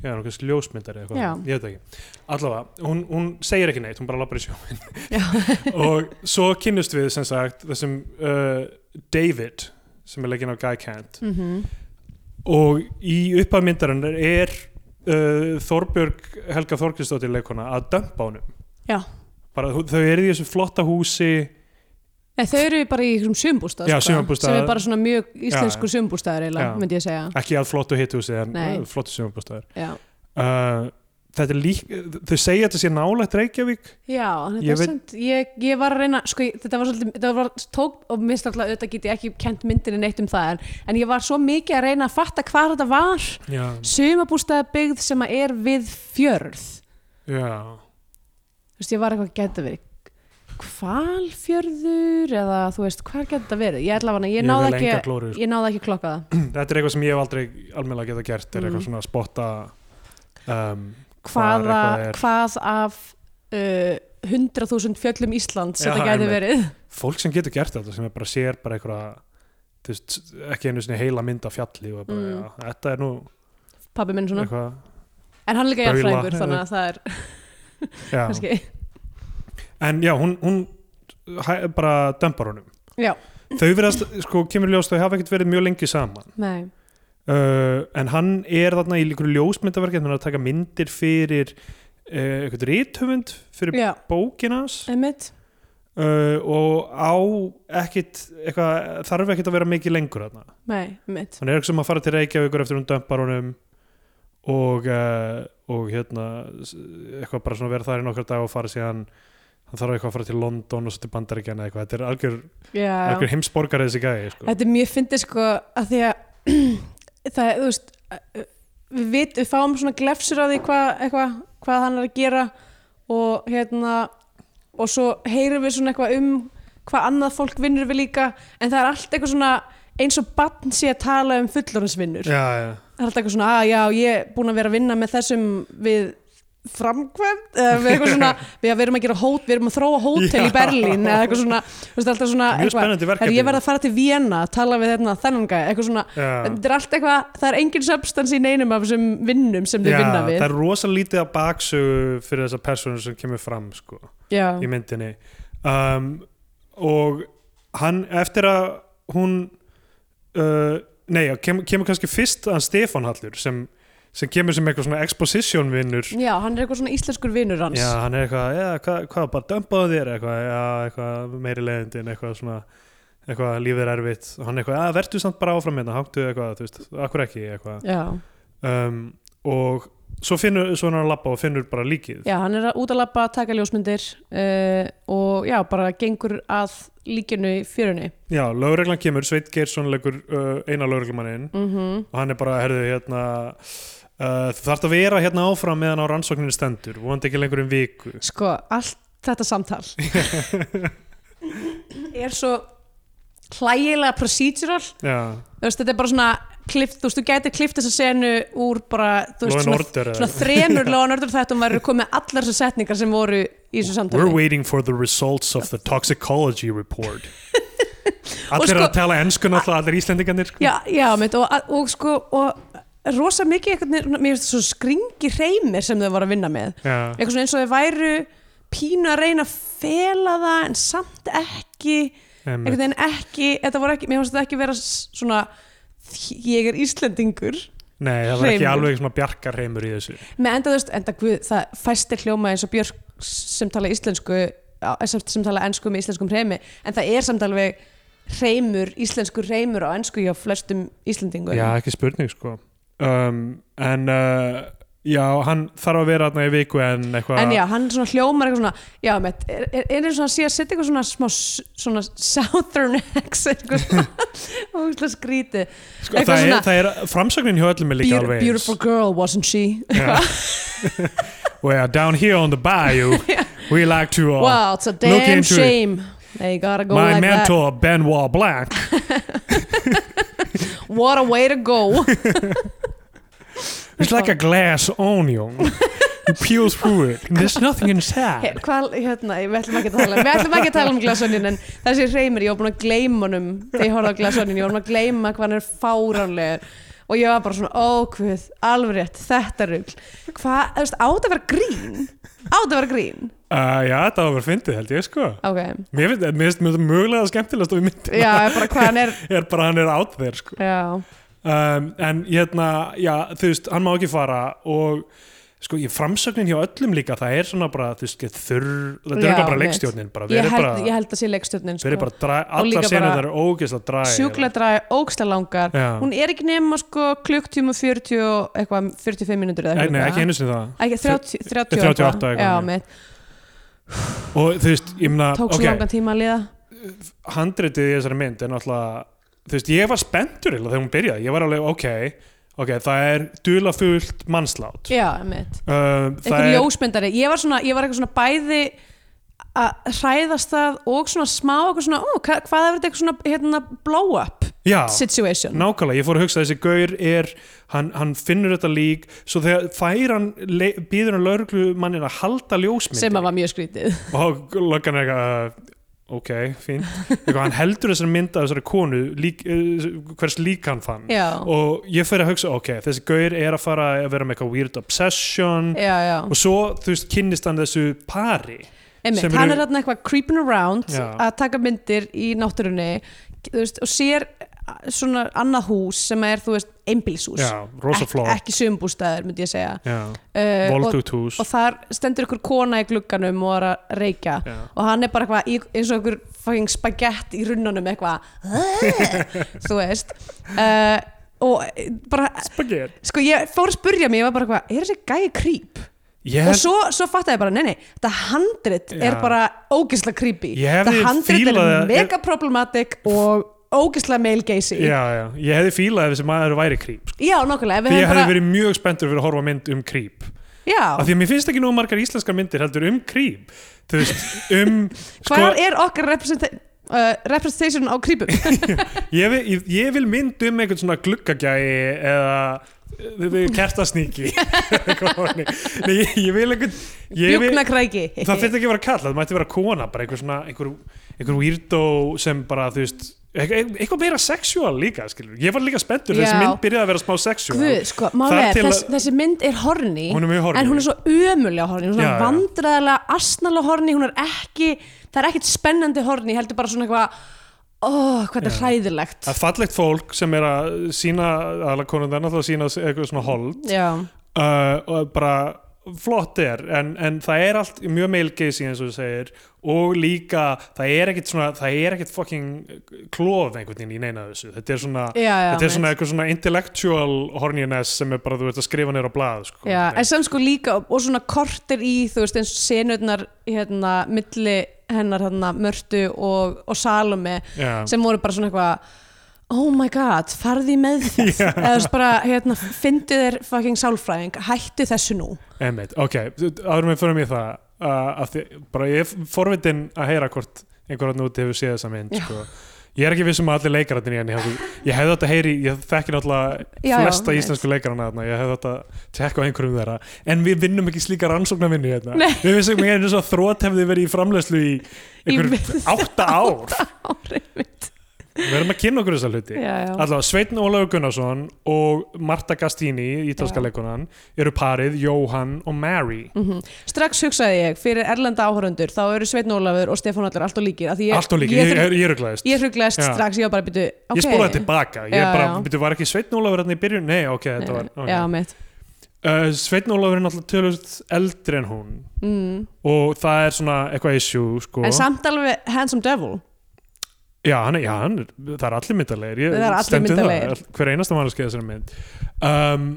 [SPEAKER 1] já, hún er kannski ljósmyndari eða
[SPEAKER 2] Já.
[SPEAKER 1] eitthvað, ég veit það ekki allavega, hún, hún segir ekki neitt hún bara labbar í sjóin og svo kynnust við sem sagt þessum uh, David sem er leikinn af Guy Kent
[SPEAKER 2] Mm -hmm.
[SPEAKER 1] og í upphafmyndarinn er uh, Þorbjörg Helga Þorkistóttir leikona að dömpa honum
[SPEAKER 2] Já.
[SPEAKER 1] bara þau þau eru í þessu flotta húsi
[SPEAKER 2] Nei, þau eru bara í einhverjum sumbústað
[SPEAKER 1] Já,
[SPEAKER 2] sko,
[SPEAKER 1] sumarbústað.
[SPEAKER 2] Sem er bara svona mjög íslensku
[SPEAKER 1] Já.
[SPEAKER 2] sumbústaðar eiginlega,
[SPEAKER 1] Já.
[SPEAKER 2] myndi ég segja
[SPEAKER 1] ekki að eh, flottu hitthúsi en
[SPEAKER 2] Nei.
[SPEAKER 1] flottu sjónbústaður
[SPEAKER 2] Já,
[SPEAKER 1] Uh, þetta er lík, þau segja þetta sé nálægt Reykjavík
[SPEAKER 2] Já, en þetta
[SPEAKER 1] Ég
[SPEAKER 2] er
[SPEAKER 1] veit-
[SPEAKER 2] samt, ég, ég var að reyna, sko, ég- þetta var svolítið, þetta var tók og mist alltaf, auðvitað get ég ekki kent myndinni neitt um það, en, en ég var svo mikið að reyna að fatta hvað þetta var,
[SPEAKER 1] já,
[SPEAKER 2] sumabústæðabyggð sem að er við fjörð,
[SPEAKER 1] já,
[SPEAKER 2] þú veist, ég var eitthvað að geta verið, hvalfjörður eða þú veist, hvað geta þetta verið? Ég ætla að hana, ég
[SPEAKER 1] Ég
[SPEAKER 2] náði
[SPEAKER 1] vil
[SPEAKER 2] ekki,
[SPEAKER 1] engar glórur, sko.
[SPEAKER 2] ég náði ekki að klokka það.
[SPEAKER 1] þetta er eitthvað sem ég hef aldrei almennilega geta gert, er
[SPEAKER 2] Mm.
[SPEAKER 1] eitthvað svona að spotta um, Hvar
[SPEAKER 2] Hvaða,
[SPEAKER 1] eitthvað er.
[SPEAKER 2] hvað af uh, 100.000 fjöllum Íslands
[SPEAKER 1] Já,
[SPEAKER 2] þetta geti
[SPEAKER 1] einmitt.
[SPEAKER 2] verið?
[SPEAKER 1] fólk sem getur gert þetta sem er bara sér bara eitthvað þú veist, ekki einu sinni heila mynd af fjalli og er bara,
[SPEAKER 2] Mm.
[SPEAKER 1] já, þetta er nú
[SPEAKER 2] Pabbi minn svona.
[SPEAKER 1] eitthvað,
[SPEAKER 2] En hann er líka
[SPEAKER 1] Baula.
[SPEAKER 2] jafnfræðingur, þannig að það er
[SPEAKER 1] já.
[SPEAKER 2] kannski...
[SPEAKER 1] en já, hún, hún hæ, bara dömbar honum
[SPEAKER 2] Já.
[SPEAKER 1] þau verðast, sko, kemur ljóst þau hafa ekkert verið mjög lengi saman
[SPEAKER 2] Nei.
[SPEAKER 1] uh, en hann er þarna í líkur ljósmyndaverk hann er að taka myndir fyrir uh, eitthvað rithöfund fyrir
[SPEAKER 2] Já,
[SPEAKER 1] bókina hans
[SPEAKER 2] einmitt.
[SPEAKER 1] uh, og á ekkit eitthvað, þarf ekkit að vera mikið lengur þarna
[SPEAKER 2] Nei, einmitt.
[SPEAKER 1] hann er ekki sem að fara til Reykjavíkur eftir hún dömpar honum og, uh, og hérna s- eitthvað bara svona vera þar í nokkar dag og fara síðan hann þarf eitthvað að fara til London og svo til Bandaríkjana eitthvað, þetta er algjör,
[SPEAKER 2] Já, já.
[SPEAKER 1] algjör heimsborgar þessi gæði, sko.
[SPEAKER 2] Þetta er mjög fyndið sko að því að það, þú veist, við, vit, við fáum svona glefsur á því hvað, eitthvað, hvað hann er að gera og hérna, og svo heyrum við svona eitthvað um hvað annað fólk vinnur við líka, en það er allt eitthvað svona eins og barn sé að tala um fullorðinsvinnur.
[SPEAKER 1] já, já,
[SPEAKER 2] Það er alltaf eitthvað svona, að já, ég er búin að vera að vinna með þessum við framkvæmt, eða við eitthvað svona, við að við erum að gera hót, við erum að þróa hótel
[SPEAKER 1] Já.
[SPEAKER 2] í Berlín, eða eitthvað svona, þú veist, alltaf svona,
[SPEAKER 1] mjög
[SPEAKER 2] eitthvað,
[SPEAKER 1] spennandi
[SPEAKER 2] Herri,
[SPEAKER 1] verkefni
[SPEAKER 2] ég verð að fara til Vienna að tala við þarna þennan gæ, eitthvað svona
[SPEAKER 1] já.
[SPEAKER 2] þetta er allt eitthvað, það er engin substans í neinum af þessum vinnum sem þau
[SPEAKER 1] Já,
[SPEAKER 2] vinna við
[SPEAKER 1] það er rosa lítið að baksögu fyrir þessar personur sem kemur fram sko,
[SPEAKER 2] já,
[SPEAKER 1] í myndinni um, og hann eftir að hún uh, nei, já, kem, kemur kannski fyrst hann Stefán Hallur sem, sem kemur sem eitthvað svona exposition vinnur
[SPEAKER 2] já, hann er eitthvað svona íslenskur vinnur hans
[SPEAKER 1] já, hann er eitthvað, já, hvað, hvað bara dömpaðu þér eitthvað, já, eitthvað meiri leiðindin eitthvað svona, eitthvað lífið er erfitt og hann eitthvað, að vertu samt bara áfram hérna háttu eitthvað, þú veist, akkur ekki eitthvað
[SPEAKER 2] já,
[SPEAKER 1] um, og svo finnur, svo er hann að labba og finnur bara líkið
[SPEAKER 2] já, hann er að út að labba, taka ljósmyndir uh, og já, bara gengur að líkinu í fjörunni
[SPEAKER 1] Já, lögreglan kemur, Sveit Geirsson leikur uh, eina lögreglumanninn
[SPEAKER 2] mm
[SPEAKER 1] og hann er bara, herðu, hérna uh, þú þarft að vera hérna áfram meðan á rannsókninu stendur, vonandi ekki lengur um viku
[SPEAKER 2] sko, allt þetta samtal er svo hlægilega procedural
[SPEAKER 1] Já,
[SPEAKER 2] þú veist, þetta er bara svona klift, þú veist, þú gætir klift þessa senu úr bara, þú veist,
[SPEAKER 1] Law and
[SPEAKER 2] svona,
[SPEAKER 1] Order eða-
[SPEAKER 2] svona þremur Law and Order þættum væri komið allar þessar setningar sem voru í þessu
[SPEAKER 1] We're
[SPEAKER 2] samtali
[SPEAKER 1] waiting for the results of the toxicology report Allir
[SPEAKER 2] sko-
[SPEAKER 1] að tala ensku náttúrulega, allir íslendingarnir sko.
[SPEAKER 2] já, já, mitt, og, og sko og rosa mikið eitthvað, mér finnst þetta svo skringi reymir sem þau voru að vinna með
[SPEAKER 1] Já,
[SPEAKER 2] eitthvað svona eins og þau væru pínu að reyna að fela það en samt ekki
[SPEAKER 1] einmitt.
[SPEAKER 2] einhvern veginn ekki, þetta voru ekki mér finnst þetta ekki vera s- svona ég er Íslendingur
[SPEAKER 1] Nei, það var ekki
[SPEAKER 2] Hreimur.
[SPEAKER 1] alveg svona bjarkarheimur í þessu
[SPEAKER 2] með enda þú veist, enda guð, það fæstir hljóma eins og Björk sem tala íslensku á- sem, sem tala ensku með íslenskum hreimi en það er samt alveg hreimur, íslensku hreimur á ensku hjá flestum íslendingu
[SPEAKER 1] Já, ekki spurning sko um, En uh, já, hann þarf að vera þarna í viku en eitthvað
[SPEAKER 2] en já, hann svona hljómar eitthvað svona já, með, er, er, er eins og hann sé að setja eitthvað svona smá s- svona southern accent eitthvað svona ógeðslega skrítið
[SPEAKER 1] Sko,
[SPEAKER 2] Eitthvað
[SPEAKER 1] það, er,
[SPEAKER 2] svona-
[SPEAKER 1] það er framsögnin hjá öllum er líka
[SPEAKER 2] Beau-
[SPEAKER 1] alveg eins
[SPEAKER 2] beautiful girl, wasn't she?
[SPEAKER 1] yeah. Well, down here on the bayou we like to uh,
[SPEAKER 2] wow, it's a
[SPEAKER 1] Look into
[SPEAKER 2] damn
[SPEAKER 1] it.
[SPEAKER 2] shame they gotta go
[SPEAKER 1] my
[SPEAKER 2] like
[SPEAKER 1] mentor Benoit Blanc
[SPEAKER 2] that what a way to go
[SPEAKER 1] it's like a glass onion you peel through it and there's nothing
[SPEAKER 2] Hey,
[SPEAKER 1] inside
[SPEAKER 2] Hvað, hérna, við ætlum ekki að tala við ætlum ekki að tala um glasonin en þessi hreimur, ég var búin að gleyma honum þegar ég horfði á glasonin, ég var búin að gleyma hvað hann er fáránlegur og ég var bara svona, ókvöð, alveg rétt þetta rugl, hvað, þú veist, átt að vera grín átt að vera grín
[SPEAKER 1] uh, Já, þetta var verið fyndið held ég sko
[SPEAKER 2] ok,
[SPEAKER 1] Mér finnst- mér finnst mjög mögulega skemmtilegast og við myndum
[SPEAKER 2] já, bara hvað hann er
[SPEAKER 1] er bara hann er out there sko
[SPEAKER 2] já,
[SPEAKER 1] um, en hérna, já, þú veist, hann má ekki fara og sko, ég framsögnin hjá öllum líka það er svona bara, þú veist, get þurr þetta er
[SPEAKER 2] Já,
[SPEAKER 1] ekki bara
[SPEAKER 2] mitt.
[SPEAKER 1] leikstjórnin bara,
[SPEAKER 2] ég
[SPEAKER 1] verið
[SPEAKER 2] held,
[SPEAKER 1] bara,
[SPEAKER 2] ég held að sé leikstjórnin
[SPEAKER 1] verið
[SPEAKER 2] sko.
[SPEAKER 1] bara dræ,
[SPEAKER 2] Og líka
[SPEAKER 1] allar senur
[SPEAKER 2] bara
[SPEAKER 1] það eru ógeðslega dræ
[SPEAKER 2] sjúklega dræ, ógsta langar
[SPEAKER 1] Já.
[SPEAKER 2] hún er ekki nema sko klukktíma 40 og eitthvað, 45 minútur eða
[SPEAKER 1] Nei, nei,
[SPEAKER 2] eitthvað.
[SPEAKER 1] ekki einu sinni það
[SPEAKER 2] Ekki, 30, 30
[SPEAKER 1] 38
[SPEAKER 2] eitthvað.
[SPEAKER 1] eitthvað,
[SPEAKER 2] já,
[SPEAKER 1] já.
[SPEAKER 2] mitt,
[SPEAKER 1] og þú veist, ég meina,
[SPEAKER 2] tók svo
[SPEAKER 1] ok,
[SPEAKER 2] langan tíma að liða
[SPEAKER 1] handritið í þessari mynd er náttúrulega þú veist, ég var spenntur eiginlega þegar hún byrjaði ég var alveg, ok, ok, það er dulafullt mannslát uh,
[SPEAKER 2] já, mitt,
[SPEAKER 1] það
[SPEAKER 2] eitthvað
[SPEAKER 1] er,
[SPEAKER 2] ljósmyndari ég var, svona, ég var eitthvað svona bæði að hræðast það og svona smá eitthvað svona, ó, hva, hvað er þetta eitthvað svona hérna, blow up
[SPEAKER 1] já,
[SPEAKER 2] situation
[SPEAKER 1] nákvæmlega, ég fór að hugsa þessi gaur er, hann, hann finnur þetta lík svo þegar fær hann le- býður hann lauruglumannin að halda ljósmynd
[SPEAKER 2] sem að var mjög skrítið
[SPEAKER 1] og löggan er eitthvað uh, ok, fínt, eitthvað, hann heldur þessari mynd af þessari konu lík, uh, hvers lík hann fann
[SPEAKER 2] já,
[SPEAKER 1] og ég fyrir að hugsa, ok, þessi gaur er að fara að vera með eitthvað weird obsession
[SPEAKER 2] já, já
[SPEAKER 1] og svo, þú veist, kynnist hann þessu pari
[SPEAKER 2] Einmitt,
[SPEAKER 1] sem
[SPEAKER 2] hann
[SPEAKER 1] eru-
[SPEAKER 2] er þarna eitthvað creeping around
[SPEAKER 1] Já.
[SPEAKER 2] að taka myndir í náttúrunni þú veist, og sér svona annað hús sem er, þú veist, einbílshús
[SPEAKER 1] já, rosa fló
[SPEAKER 2] ekki sömbústæður, myndi ég segja
[SPEAKER 1] já,
[SPEAKER 2] uh, og,
[SPEAKER 1] voldugt hús
[SPEAKER 2] og þar stendur ykkur kona í glugganum og er að reykja
[SPEAKER 1] já.
[SPEAKER 2] og hann er bara eitthvað í- eins og einhver fucking spagett í runnunum eitthvað þú veist uh, og bara
[SPEAKER 1] Spagetti.
[SPEAKER 2] sko ég fór að spurja mig, ég var bara eitthvað er þessi gæi creep?
[SPEAKER 1] ég
[SPEAKER 2] og
[SPEAKER 1] hef,
[SPEAKER 2] svo, svo fattaði ég bara, nei nei, þetta handrit
[SPEAKER 1] Já.
[SPEAKER 2] er bara ógisla creepy
[SPEAKER 1] Ég hefði
[SPEAKER 2] þetta handrit
[SPEAKER 1] fílað
[SPEAKER 2] er
[SPEAKER 1] að-
[SPEAKER 2] mega problematic og ógisla male geysi
[SPEAKER 1] já, já, ég hefði fílað ef þessi maður væri creep sko.
[SPEAKER 2] já nokkulega, ef
[SPEAKER 1] því
[SPEAKER 2] við
[SPEAKER 1] ég
[SPEAKER 2] hefðum
[SPEAKER 1] hefði
[SPEAKER 2] bara
[SPEAKER 1] verið mjög spenntur fyrir að horfa á mynd um creep af
[SPEAKER 2] já,
[SPEAKER 1] því að mér finnst ekki nóg margar íslenskar myndir heldur um creep þú veist, um
[SPEAKER 2] hvar er okkar representa uh, representation á creepum
[SPEAKER 1] ég, vil, ég, ég vil mynd um einhvern svona gluggagæi eða eh, kertasníki Eitthvað þannig. Nei, ég, ég vil einhvern ég vil,
[SPEAKER 2] bjúknakræki
[SPEAKER 1] það fyrir ekki að vera kall það mætti vera kona, bara einhver svona einhver, einhver weirdo sem bara þú veist eitthvað eitthvað meira sexual líka skilur. ég var líka spenntur þegar
[SPEAKER 2] Já.
[SPEAKER 1] þessi mynd byrjaði að vera smá sexual
[SPEAKER 2] Guð, sko, máli
[SPEAKER 1] Þar
[SPEAKER 2] er,
[SPEAKER 1] til
[SPEAKER 2] þess,
[SPEAKER 1] að-
[SPEAKER 2] þessi mynd er horni,
[SPEAKER 1] Hún er mjög horny.
[SPEAKER 2] en hún er svo ömulega horni, hún er
[SPEAKER 1] Já,
[SPEAKER 2] svona
[SPEAKER 1] já.
[SPEAKER 2] vandræðilega asnalega horni, hún er ekki það er ekkit spennandi horni, heldur bara svona eitthvað ó, hvað þetta er hræðilegt
[SPEAKER 1] að fallegt fólk sem er að sína aðla konum það er náttúrulega að sína eitthvað svona hold
[SPEAKER 2] Já,
[SPEAKER 1] uh, og bara flott er en, en það er allt mjög meilgeysi eins og þú segir og líka það er ekkit svona það er ekkit fucking klof einhvern veginn í neina af þessu þetta er svona
[SPEAKER 2] já,
[SPEAKER 1] Þetta
[SPEAKER 2] já
[SPEAKER 1] er
[SPEAKER 2] mitt.
[SPEAKER 1] svona eitthvað svona intellectual horniness sem er bara, þú veist, að skrifa neyra á blað sko.
[SPEAKER 2] Já, en sem sko líka, og svona kortir í, þú veist, eins og senurnar hérna, milli hennar hérna, Mörtu og, og Salome
[SPEAKER 1] Já.
[SPEAKER 2] sem voru bara svona eitthvað oh my god, farði með þess eða þú veist bara, hérna, fyndu þér fucking sálfræðing, hættu þessu nú
[SPEAKER 1] Einmitt, ok, áður með fyrir mig það uh, að því, bara ég er forvitin að heyra hvort einhverjarn úti hefur séð þessa mynd
[SPEAKER 2] Já.
[SPEAKER 1] sko. ég er ekki viss um að allir leikararnir í henni hafi- ég hefði þetta heyri, ég þekki náttúrulega
[SPEAKER 2] Já, já,
[SPEAKER 1] flesta
[SPEAKER 2] einmitt.
[SPEAKER 1] íslensku leikararna þarna, ég hefði þetta tekka á einhverjum þeirra en við vinnum ekki slíka rannsóknarvinni hérna.
[SPEAKER 2] Nei.
[SPEAKER 1] við vissum ekki einu svo að þrót hefði verið í framlegslu í einhver
[SPEAKER 2] Í-
[SPEAKER 1] átta ár
[SPEAKER 2] árið mitt
[SPEAKER 1] við verðum að kynna okkur þessa hluti
[SPEAKER 2] já, já.
[SPEAKER 1] Allavega, Sveitn Ólafur Gunnarsson og Marta Gastini, ítalska
[SPEAKER 2] Já.
[SPEAKER 1] leikunan eru parið Jóhann og Mary
[SPEAKER 2] Mhm. strax hugsaði ég fyrir erlenda áhörundur þá eru Sveitn Ólafur og Stefán Allar allt og líkir af því ég,
[SPEAKER 1] allt og líka,
[SPEAKER 2] ég,
[SPEAKER 1] ég,
[SPEAKER 2] ég,
[SPEAKER 1] ég, ég rugglaðist
[SPEAKER 2] ég hruglaðist
[SPEAKER 1] Já.
[SPEAKER 2] strax, ég var bara að byrja okay.
[SPEAKER 1] ég spólaði tilbaka, ég
[SPEAKER 2] Já,
[SPEAKER 1] bara,
[SPEAKER 2] já.
[SPEAKER 1] byrju, var ekki Sveitn Ólafur hann í byrjun, nei, ok,
[SPEAKER 2] Nei,
[SPEAKER 1] þetta var
[SPEAKER 2] nei,
[SPEAKER 1] okay.
[SPEAKER 2] já, mitt
[SPEAKER 1] uh, Sveitn Ólafur er náttúrulega tölvöld eldri en hún
[SPEAKER 2] mm.
[SPEAKER 1] og það er svona eitthvað issue, sko
[SPEAKER 2] en samt alveg Handsome Devil
[SPEAKER 1] já, hann, er- já hann, er- það er allir myndarlegir ég
[SPEAKER 2] Það eru allir
[SPEAKER 1] stend við
[SPEAKER 2] myndarlegir.
[SPEAKER 1] það, hver einasta mannskið þessari mynd um,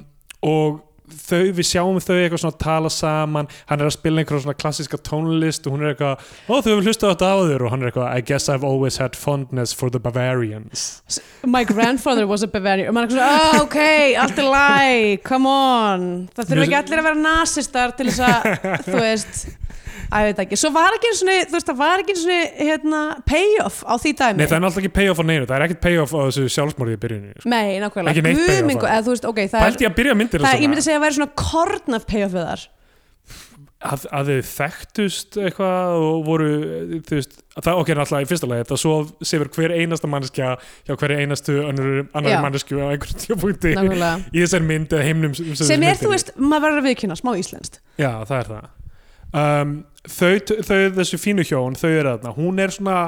[SPEAKER 1] og þau, við sjáum þau eitthvað svona tala saman hann er að spila einhverja svona klassiska tónlist og hún er eitthvað, ó þau hefur hlustað á þetta áður og hann er eitthvað, I guess I've always had fondness for the Bavarians
[SPEAKER 2] S- My grandfather was a Bavarian og maður er svona, oh, ok, allt er læg come on, það þurfa ekki
[SPEAKER 1] Mér-
[SPEAKER 2] allir að vera nasistar til þess að, þú veist að ég veit ekki, svo var ekki einu svona þú veist, það var ekki einu svona, hérna payoff á því dæmi
[SPEAKER 1] Nei, það er náttúrulega ekki payoff á neinu, það er ekkert payoff á þessu sjálfsmorði í byrjunni. Sko.
[SPEAKER 2] Nei, nákvæmlega,
[SPEAKER 1] Ekki neitt payoff á
[SPEAKER 2] guðmingu,
[SPEAKER 1] það.
[SPEAKER 2] eða þú veist, ok, það er
[SPEAKER 1] Pældi ég að byrja myndir
[SPEAKER 2] Það, ég myndi
[SPEAKER 1] að,
[SPEAKER 2] segja að væri svona korn af payoff við þar
[SPEAKER 1] að, að þau þekktust eitthvað og voru, þú veist, það, ok, náttúrulega í fyrsta lagi, það svo sefur hver einasta manneskja hjá hverju einastu önnur,
[SPEAKER 2] Já.
[SPEAKER 1] annar mannesku á einhverjum tíapunkti
[SPEAKER 2] Nákvæmlega.
[SPEAKER 1] í þessari mynd eða heimnum sem,
[SPEAKER 2] sem er,
[SPEAKER 1] þessi
[SPEAKER 2] þú
[SPEAKER 1] mynd
[SPEAKER 2] veist, maður verður að viðkynna smá íslenskt
[SPEAKER 1] Já, það er það. um, þau, þau, þessu fínu hjón þau eru þarna, hún er svona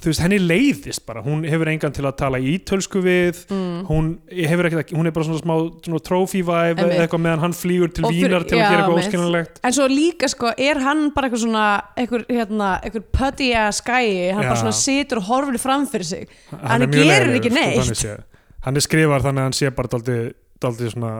[SPEAKER 1] þú veist, henni leiðist bara, hún hefur engan til að tala í ítölsku við
[SPEAKER 2] mm.
[SPEAKER 1] hún, hefur ekkert, hún er bara svona smá svona trophy vibe
[SPEAKER 2] Einmitt.
[SPEAKER 1] eða eitthvað meðan hann flýgur til
[SPEAKER 2] Og fyrir-
[SPEAKER 1] vínar til að
[SPEAKER 2] já,
[SPEAKER 1] gera eitthvað
[SPEAKER 2] einmitt.
[SPEAKER 1] óskiljanlegt
[SPEAKER 2] En svo líka sko, er hann bara eitthvað svona eitthvað, hérna, eitthvað putty ass gæi hann
[SPEAKER 1] Já.
[SPEAKER 2] bara svona situr og horfir fram fyrir sig
[SPEAKER 1] hann, er
[SPEAKER 2] Hann
[SPEAKER 1] mjög
[SPEAKER 2] gerir
[SPEAKER 1] leiðilegur,
[SPEAKER 2] ekki
[SPEAKER 1] sko,
[SPEAKER 2] neitt.
[SPEAKER 1] þannig séð. hann er skrifar þannig að hann sé bara daldið, daldið svona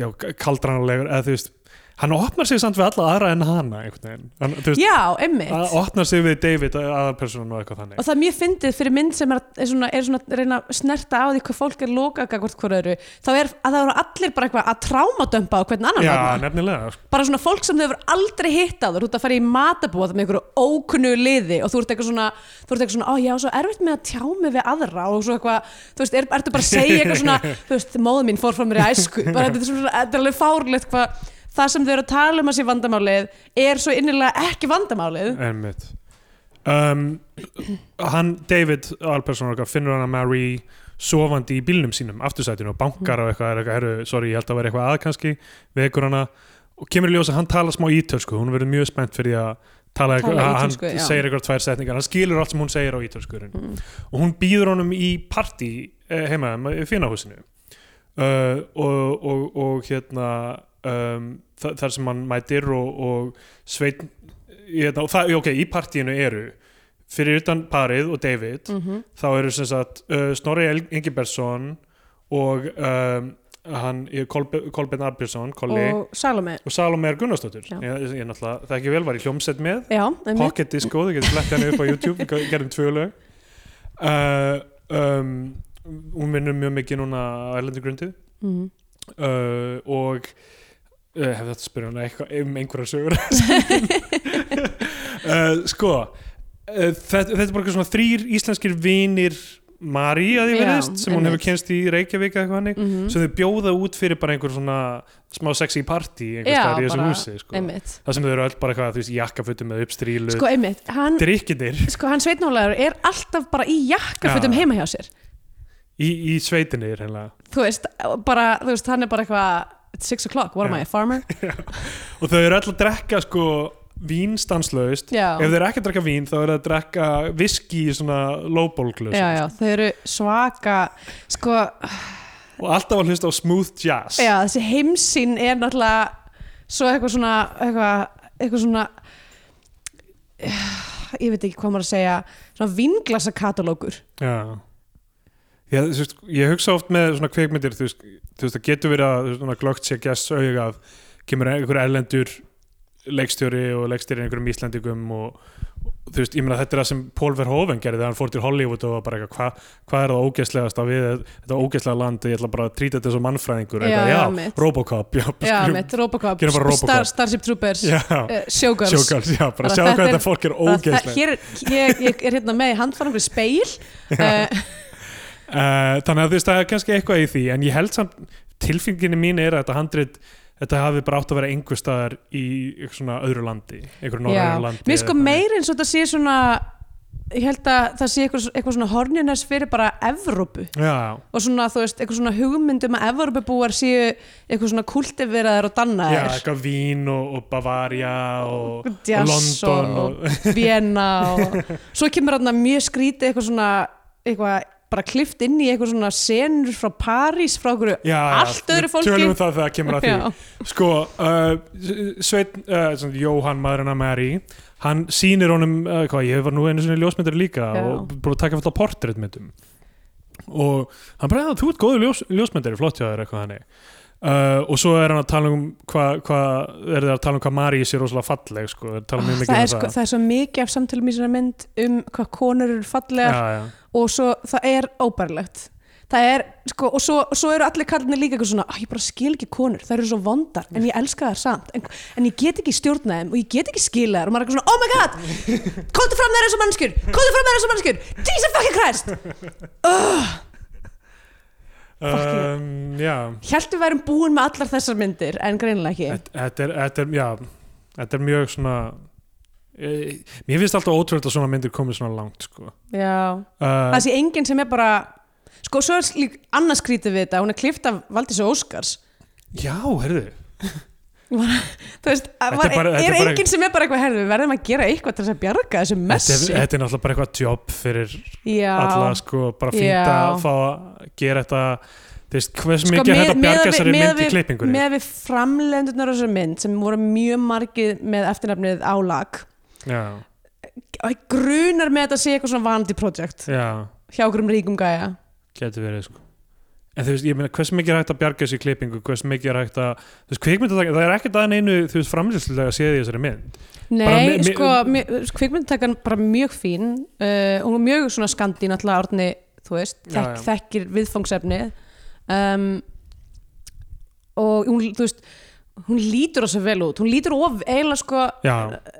[SPEAKER 1] já, kaldranarlegur eða þú veist, hann opnar sig samt við alla aðra en hana einhvern veginn, hann, þú veist,
[SPEAKER 2] Já, einmitt
[SPEAKER 1] að opnar sig við David aðalpersonan og eitthvað
[SPEAKER 2] og
[SPEAKER 1] þannig
[SPEAKER 2] það er mjög fyndið fyrir mynd sem er, er, svona, er svona að reyna að snerta á því hvað fólk er lokað hvort hvort öðru þá er að það eru allir bara eitthvað að trámadömpa á hvern annan
[SPEAKER 1] já,
[SPEAKER 2] þarna.
[SPEAKER 1] nefnilega, sko.
[SPEAKER 2] bara svona fólk sem þau hefur aldrei hitt á þú ert að fara í matabóð með einhverju ókunnu liði og þú ert eitthvað svona þú ert eitthvað svona, ó ég á svo erfitt með að tjá mig við aðra og svo eitthvað, þú veist, er, ertu bara að segja eitthvað svona, þú veist, móðu mín fór frá mér í æsku bara þetta er, svona, þetta er alveg fárlegt hvað það sem þau eru að tala um að sé vandamálið er svo innilega ekki vandamálið
[SPEAKER 1] einmitt um, hann, David aðalpersonan okkar, finnur hann að Mary sofandi í bílnum sínum, aftursætinu og bankar á eitthvað, er eitthvað, herru, sorry, ég held að vera eitthvað að kannski, vekur hana og kemur í ljós að hann tala smá ítölsku, hún verður mjög spennt fyrir því að tala,
[SPEAKER 2] Tala
[SPEAKER 1] eitthvað, hann
[SPEAKER 2] ítölsku, já.
[SPEAKER 1] segir eitthvað tvær setningar, hann skilur allt sem hún segir á ítölsku í rauninni.
[SPEAKER 2] Mm.
[SPEAKER 1] og hún býður honum í partí eh, heima um, í finahúsinu uh, og, og, og hérna um, þa þar sem hann mætir og, og sveit hérna, og það, ok, í partíinu eru fyrir utan parið og David
[SPEAKER 2] Mhm.
[SPEAKER 1] þá eru sem sagt uh, Snorri El- Ingebergsson og um, hann Kolbe, Kolbeinn Arbjörnsson Kolli, og,
[SPEAKER 2] og Salome
[SPEAKER 1] og Salome R. Gunnarsdóttur
[SPEAKER 2] Já.
[SPEAKER 1] ég, ég náttúrulega, það ekki vel var í hljómsett með
[SPEAKER 2] Já, einmitt.
[SPEAKER 1] Pocket Disco, þið getur flett henni upp á YouTube við gerðum tvö lög uh, um, hún vinnur mjög mikið núna á Erlendu Grundu
[SPEAKER 2] Mm.
[SPEAKER 1] uh, og uh, hefði þetta spyrja hana eitthvað um einhverja sögur uh, sko uh, þetta, þetta er bara eitthvað svona þrýr íslenskir vinir Mari að því
[SPEAKER 2] Já,
[SPEAKER 1] verðist sem hún hefur
[SPEAKER 2] einmitt.
[SPEAKER 1] kennst í Reykjavík eða eitthvað hannig
[SPEAKER 2] Mhm.
[SPEAKER 1] sem þau bjóða út fyrir bara einhver svona smá sexy party einhvers
[SPEAKER 2] Já,
[SPEAKER 1] staðar í þessu
[SPEAKER 2] bara,
[SPEAKER 1] húsi sko.
[SPEAKER 2] einmitt
[SPEAKER 1] það sem þau eru öll bara eitthvað þú veist, jakkafutum með uppstrílu
[SPEAKER 2] sko einmitt, hann,
[SPEAKER 1] drikkinir
[SPEAKER 2] sko, hann sveitnálegar er alltaf bara í jakkafutum
[SPEAKER 1] Já.
[SPEAKER 2] heima hjá sér
[SPEAKER 1] í, í sveitinni reynlega.
[SPEAKER 2] þú veist, bara, þú veist, hann er bara eitthvað it's six o'clock, what am
[SPEAKER 1] Já.
[SPEAKER 2] I, a farmer?
[SPEAKER 1] og þau eru öll að drekka sko vín stanslaust
[SPEAKER 2] Já,
[SPEAKER 1] ef þau eru ekki að drekka vín þá eru að drekka viski í svona lowbólglös
[SPEAKER 2] já, já, þau eru svaka sko,
[SPEAKER 1] og alltaf að hlusta á smooth jazz
[SPEAKER 2] já, þessi heimsinn er náttúrulega svo eitthvað svona eitthvað, eitthvað svona ég veit ekki hvað maður að segja svona vinglasa katalógur
[SPEAKER 1] Já. Ég, þú veist, ég hugsa oft með svona kveikmyndir þú veist, þú veist það getur verið að þú veist, svona glögt sé gess auðvitað að kemur einhver erlendur leikstjóri og leikstjóri einhverjum íslendingum og þú veist, ég meina þetta er það sem Paul Verhoeven gerði þegar hann fór til Hollywood og var bara eitthvað hva- hvað er það ógeðslegast á við þetta ógeðslega land, ég ætla bara að trýta þetta sem mannfræðingur
[SPEAKER 2] Já,
[SPEAKER 1] eitthvað,
[SPEAKER 2] já,
[SPEAKER 1] já,
[SPEAKER 2] mitt.
[SPEAKER 1] Robocop já,
[SPEAKER 2] já,
[SPEAKER 1] skulum-
[SPEAKER 2] mitt, Robocop,
[SPEAKER 1] gerum bara Robocop.
[SPEAKER 2] Star, Starship Troopers
[SPEAKER 1] já,
[SPEAKER 2] uh, Showgirls,
[SPEAKER 1] showgirls, já, bara
[SPEAKER 2] Bara
[SPEAKER 1] sjá
[SPEAKER 2] þetta
[SPEAKER 1] hvað
[SPEAKER 2] er-
[SPEAKER 1] þetta fólk er
[SPEAKER 2] Það- það-
[SPEAKER 1] ógeðslegt
[SPEAKER 2] hér er, ég, ég er hérna með í handfærum fyrir speil uh,
[SPEAKER 1] Uh, þannig að þú veist það er kannski eitthvað í því en ég held samt tilfinginni mín er að þetta handrit þetta hafi bara átt að vera einhver staðar í einhver svona öðru landi einhver
[SPEAKER 2] já.
[SPEAKER 1] norrænu landi
[SPEAKER 2] mér
[SPEAKER 1] eða
[SPEAKER 2] sko
[SPEAKER 1] eitthvað.
[SPEAKER 2] meir eins og það sé svona ég held að það sé eitthvað, eitthvað svona horniness fyrir bara Evrópu
[SPEAKER 1] já,
[SPEAKER 2] og svona þú veist, eitthvað svona hugmyndum að Evrópubúar séu eitthvað svona kultiveraðar
[SPEAKER 1] já,
[SPEAKER 2] og dannaðar
[SPEAKER 1] eitthvað Vín og, og Bavaria og,
[SPEAKER 2] Og
[SPEAKER 1] og
[SPEAKER 2] jazz
[SPEAKER 1] London
[SPEAKER 2] og-
[SPEAKER 1] og,
[SPEAKER 2] Vienna og svo kemur þarna mjög skrítið eitthvað svona eitthvað bara klift inn í eitthvað svona senur frá París frá okkur
[SPEAKER 1] já,
[SPEAKER 2] Allt
[SPEAKER 1] já,
[SPEAKER 2] öðru
[SPEAKER 1] við
[SPEAKER 2] fólki.
[SPEAKER 1] tölum um það þegar kemur að því sko, uh, Sveitn uh, svona, Jóhann maðurinn að Mary hann sýnir honum, uh, hvað, ég var nú einu sinni ljósmyndar líka
[SPEAKER 2] Já.
[SPEAKER 1] og búið að taka fyrir portréttmyndum og hann bara, "Já, þú ert góður ljós, ljósmyndari flott hjá þér eitthvað hannig Uh, og svo er hann að tala um hvað hva, er það að tala um hvað Mari sé rosalega falleg sko, er að tala mjög mikið
[SPEAKER 2] það,
[SPEAKER 1] um
[SPEAKER 2] er sko, það er svo mikið af samtölum í svona mynd um hvað konur eru fallegar
[SPEAKER 1] Já, já.
[SPEAKER 2] og svo það er óbærilegt það er, sko, og svo, svo eru allir kallinni líka eitthvað svona, "Ah, ég bara skil ekki konur það eru svo vondar, en ég elska þær samt en, en ég get ekki stjórna þeim og ég get ekki skila þær og maður er eitthvað svona, oh my god komdu fram með þessu mannskjur, komdu fram með þessu mannskjur Jesus fucking Christ Fucking-
[SPEAKER 1] Um, já.
[SPEAKER 2] Hjæltu við værum búin með allar þessar myndir en greinilega ekki
[SPEAKER 1] Þetta- þetta er, þetta er, já þetta er mjög svona eh, mér finnst alltaf ótrúlega að svona myndir komið svona langt sko.
[SPEAKER 2] Já.
[SPEAKER 1] uh,
[SPEAKER 2] það sé enginn sem er bara sko, svo er líka annars skrítið við þetta hún er klift af Valdísi Óskars
[SPEAKER 1] Já, heyrðu
[SPEAKER 2] þú veist, að
[SPEAKER 1] Þetta er
[SPEAKER 2] var,
[SPEAKER 1] bara- þetta
[SPEAKER 2] er
[SPEAKER 1] er bara-
[SPEAKER 2] enginn sem er bara eitthvað herðu, við verðum að gera eitthvað til þess að bjarga þessu
[SPEAKER 1] þetta,
[SPEAKER 2] messi
[SPEAKER 1] er- þetta er náttúrulega bara eitthvað jobb fyrir
[SPEAKER 2] já,
[SPEAKER 1] alla sko, bara fínt
[SPEAKER 2] Já.
[SPEAKER 1] að fá að gera þetta þú veist, hversu
[SPEAKER 2] Sko,
[SPEAKER 1] mikið er hægt að bjarga þessari mynd í klippingunni
[SPEAKER 2] með við framlendurnar á þessari mynd sem voru mjög margið með eftirnafnið álag
[SPEAKER 1] já,
[SPEAKER 2] grunar með þetta sé eitthvað svona vanandi projekt
[SPEAKER 1] já,
[SPEAKER 2] hjá okkur um ríkum gæja
[SPEAKER 1] getur verið sko en þú veist, ég meina, hversu mikið er hægt að bjarga þessi klippingu hversu mikið er hægt að, þú veist, kvikmyndatak það er ekkert aðeins einu, þú veist, framlýslega séð í þessari mynd Bara
[SPEAKER 2] Nei,
[SPEAKER 1] mi- mi-
[SPEAKER 2] sko, mi- kvikmyndtakan bara mjög fín uh, hún er mjög svona skandi náttúrulega orðni, þú veist,
[SPEAKER 1] Já,
[SPEAKER 2] þekk,
[SPEAKER 1] já.
[SPEAKER 2] þekkir viðfangsefnið um, og hún, þú veist hún lítur þessu vel út, hún lítur of eiginlega sko,
[SPEAKER 1] já,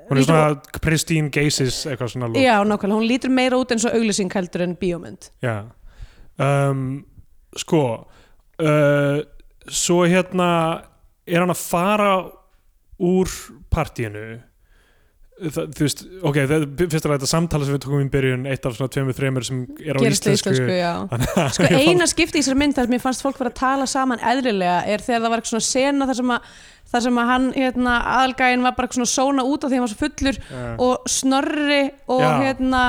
[SPEAKER 1] hún er
[SPEAKER 2] Lítur-
[SPEAKER 1] svona pristine geisis, eitthvað svona look.
[SPEAKER 2] já, nákvæmlega, hún lítur meira út eins og auglýsing heldur en bíómynd
[SPEAKER 1] Já um, Sko uh, Svo hérna er hann að fara úr partíinu Þa, þú veist, ok, það, fyrst að þetta samtala sem við tókum í byrjun, eitt af svona tveimur, þreimur sem er á
[SPEAKER 2] gerist í
[SPEAKER 1] íslensku,
[SPEAKER 2] íslensku, já Sko eina skipti í þessari mynd þar sem ég fannst fólk vera að tala saman eðlilega er þegar það var eitthvað svona sena þar sem að, þar sem að hann, hérna, aðalgæin var bara eitthvað svona sóna út af því að hann var svo fullur
[SPEAKER 1] uh,
[SPEAKER 2] og Snorri og
[SPEAKER 1] Já.
[SPEAKER 2] hérna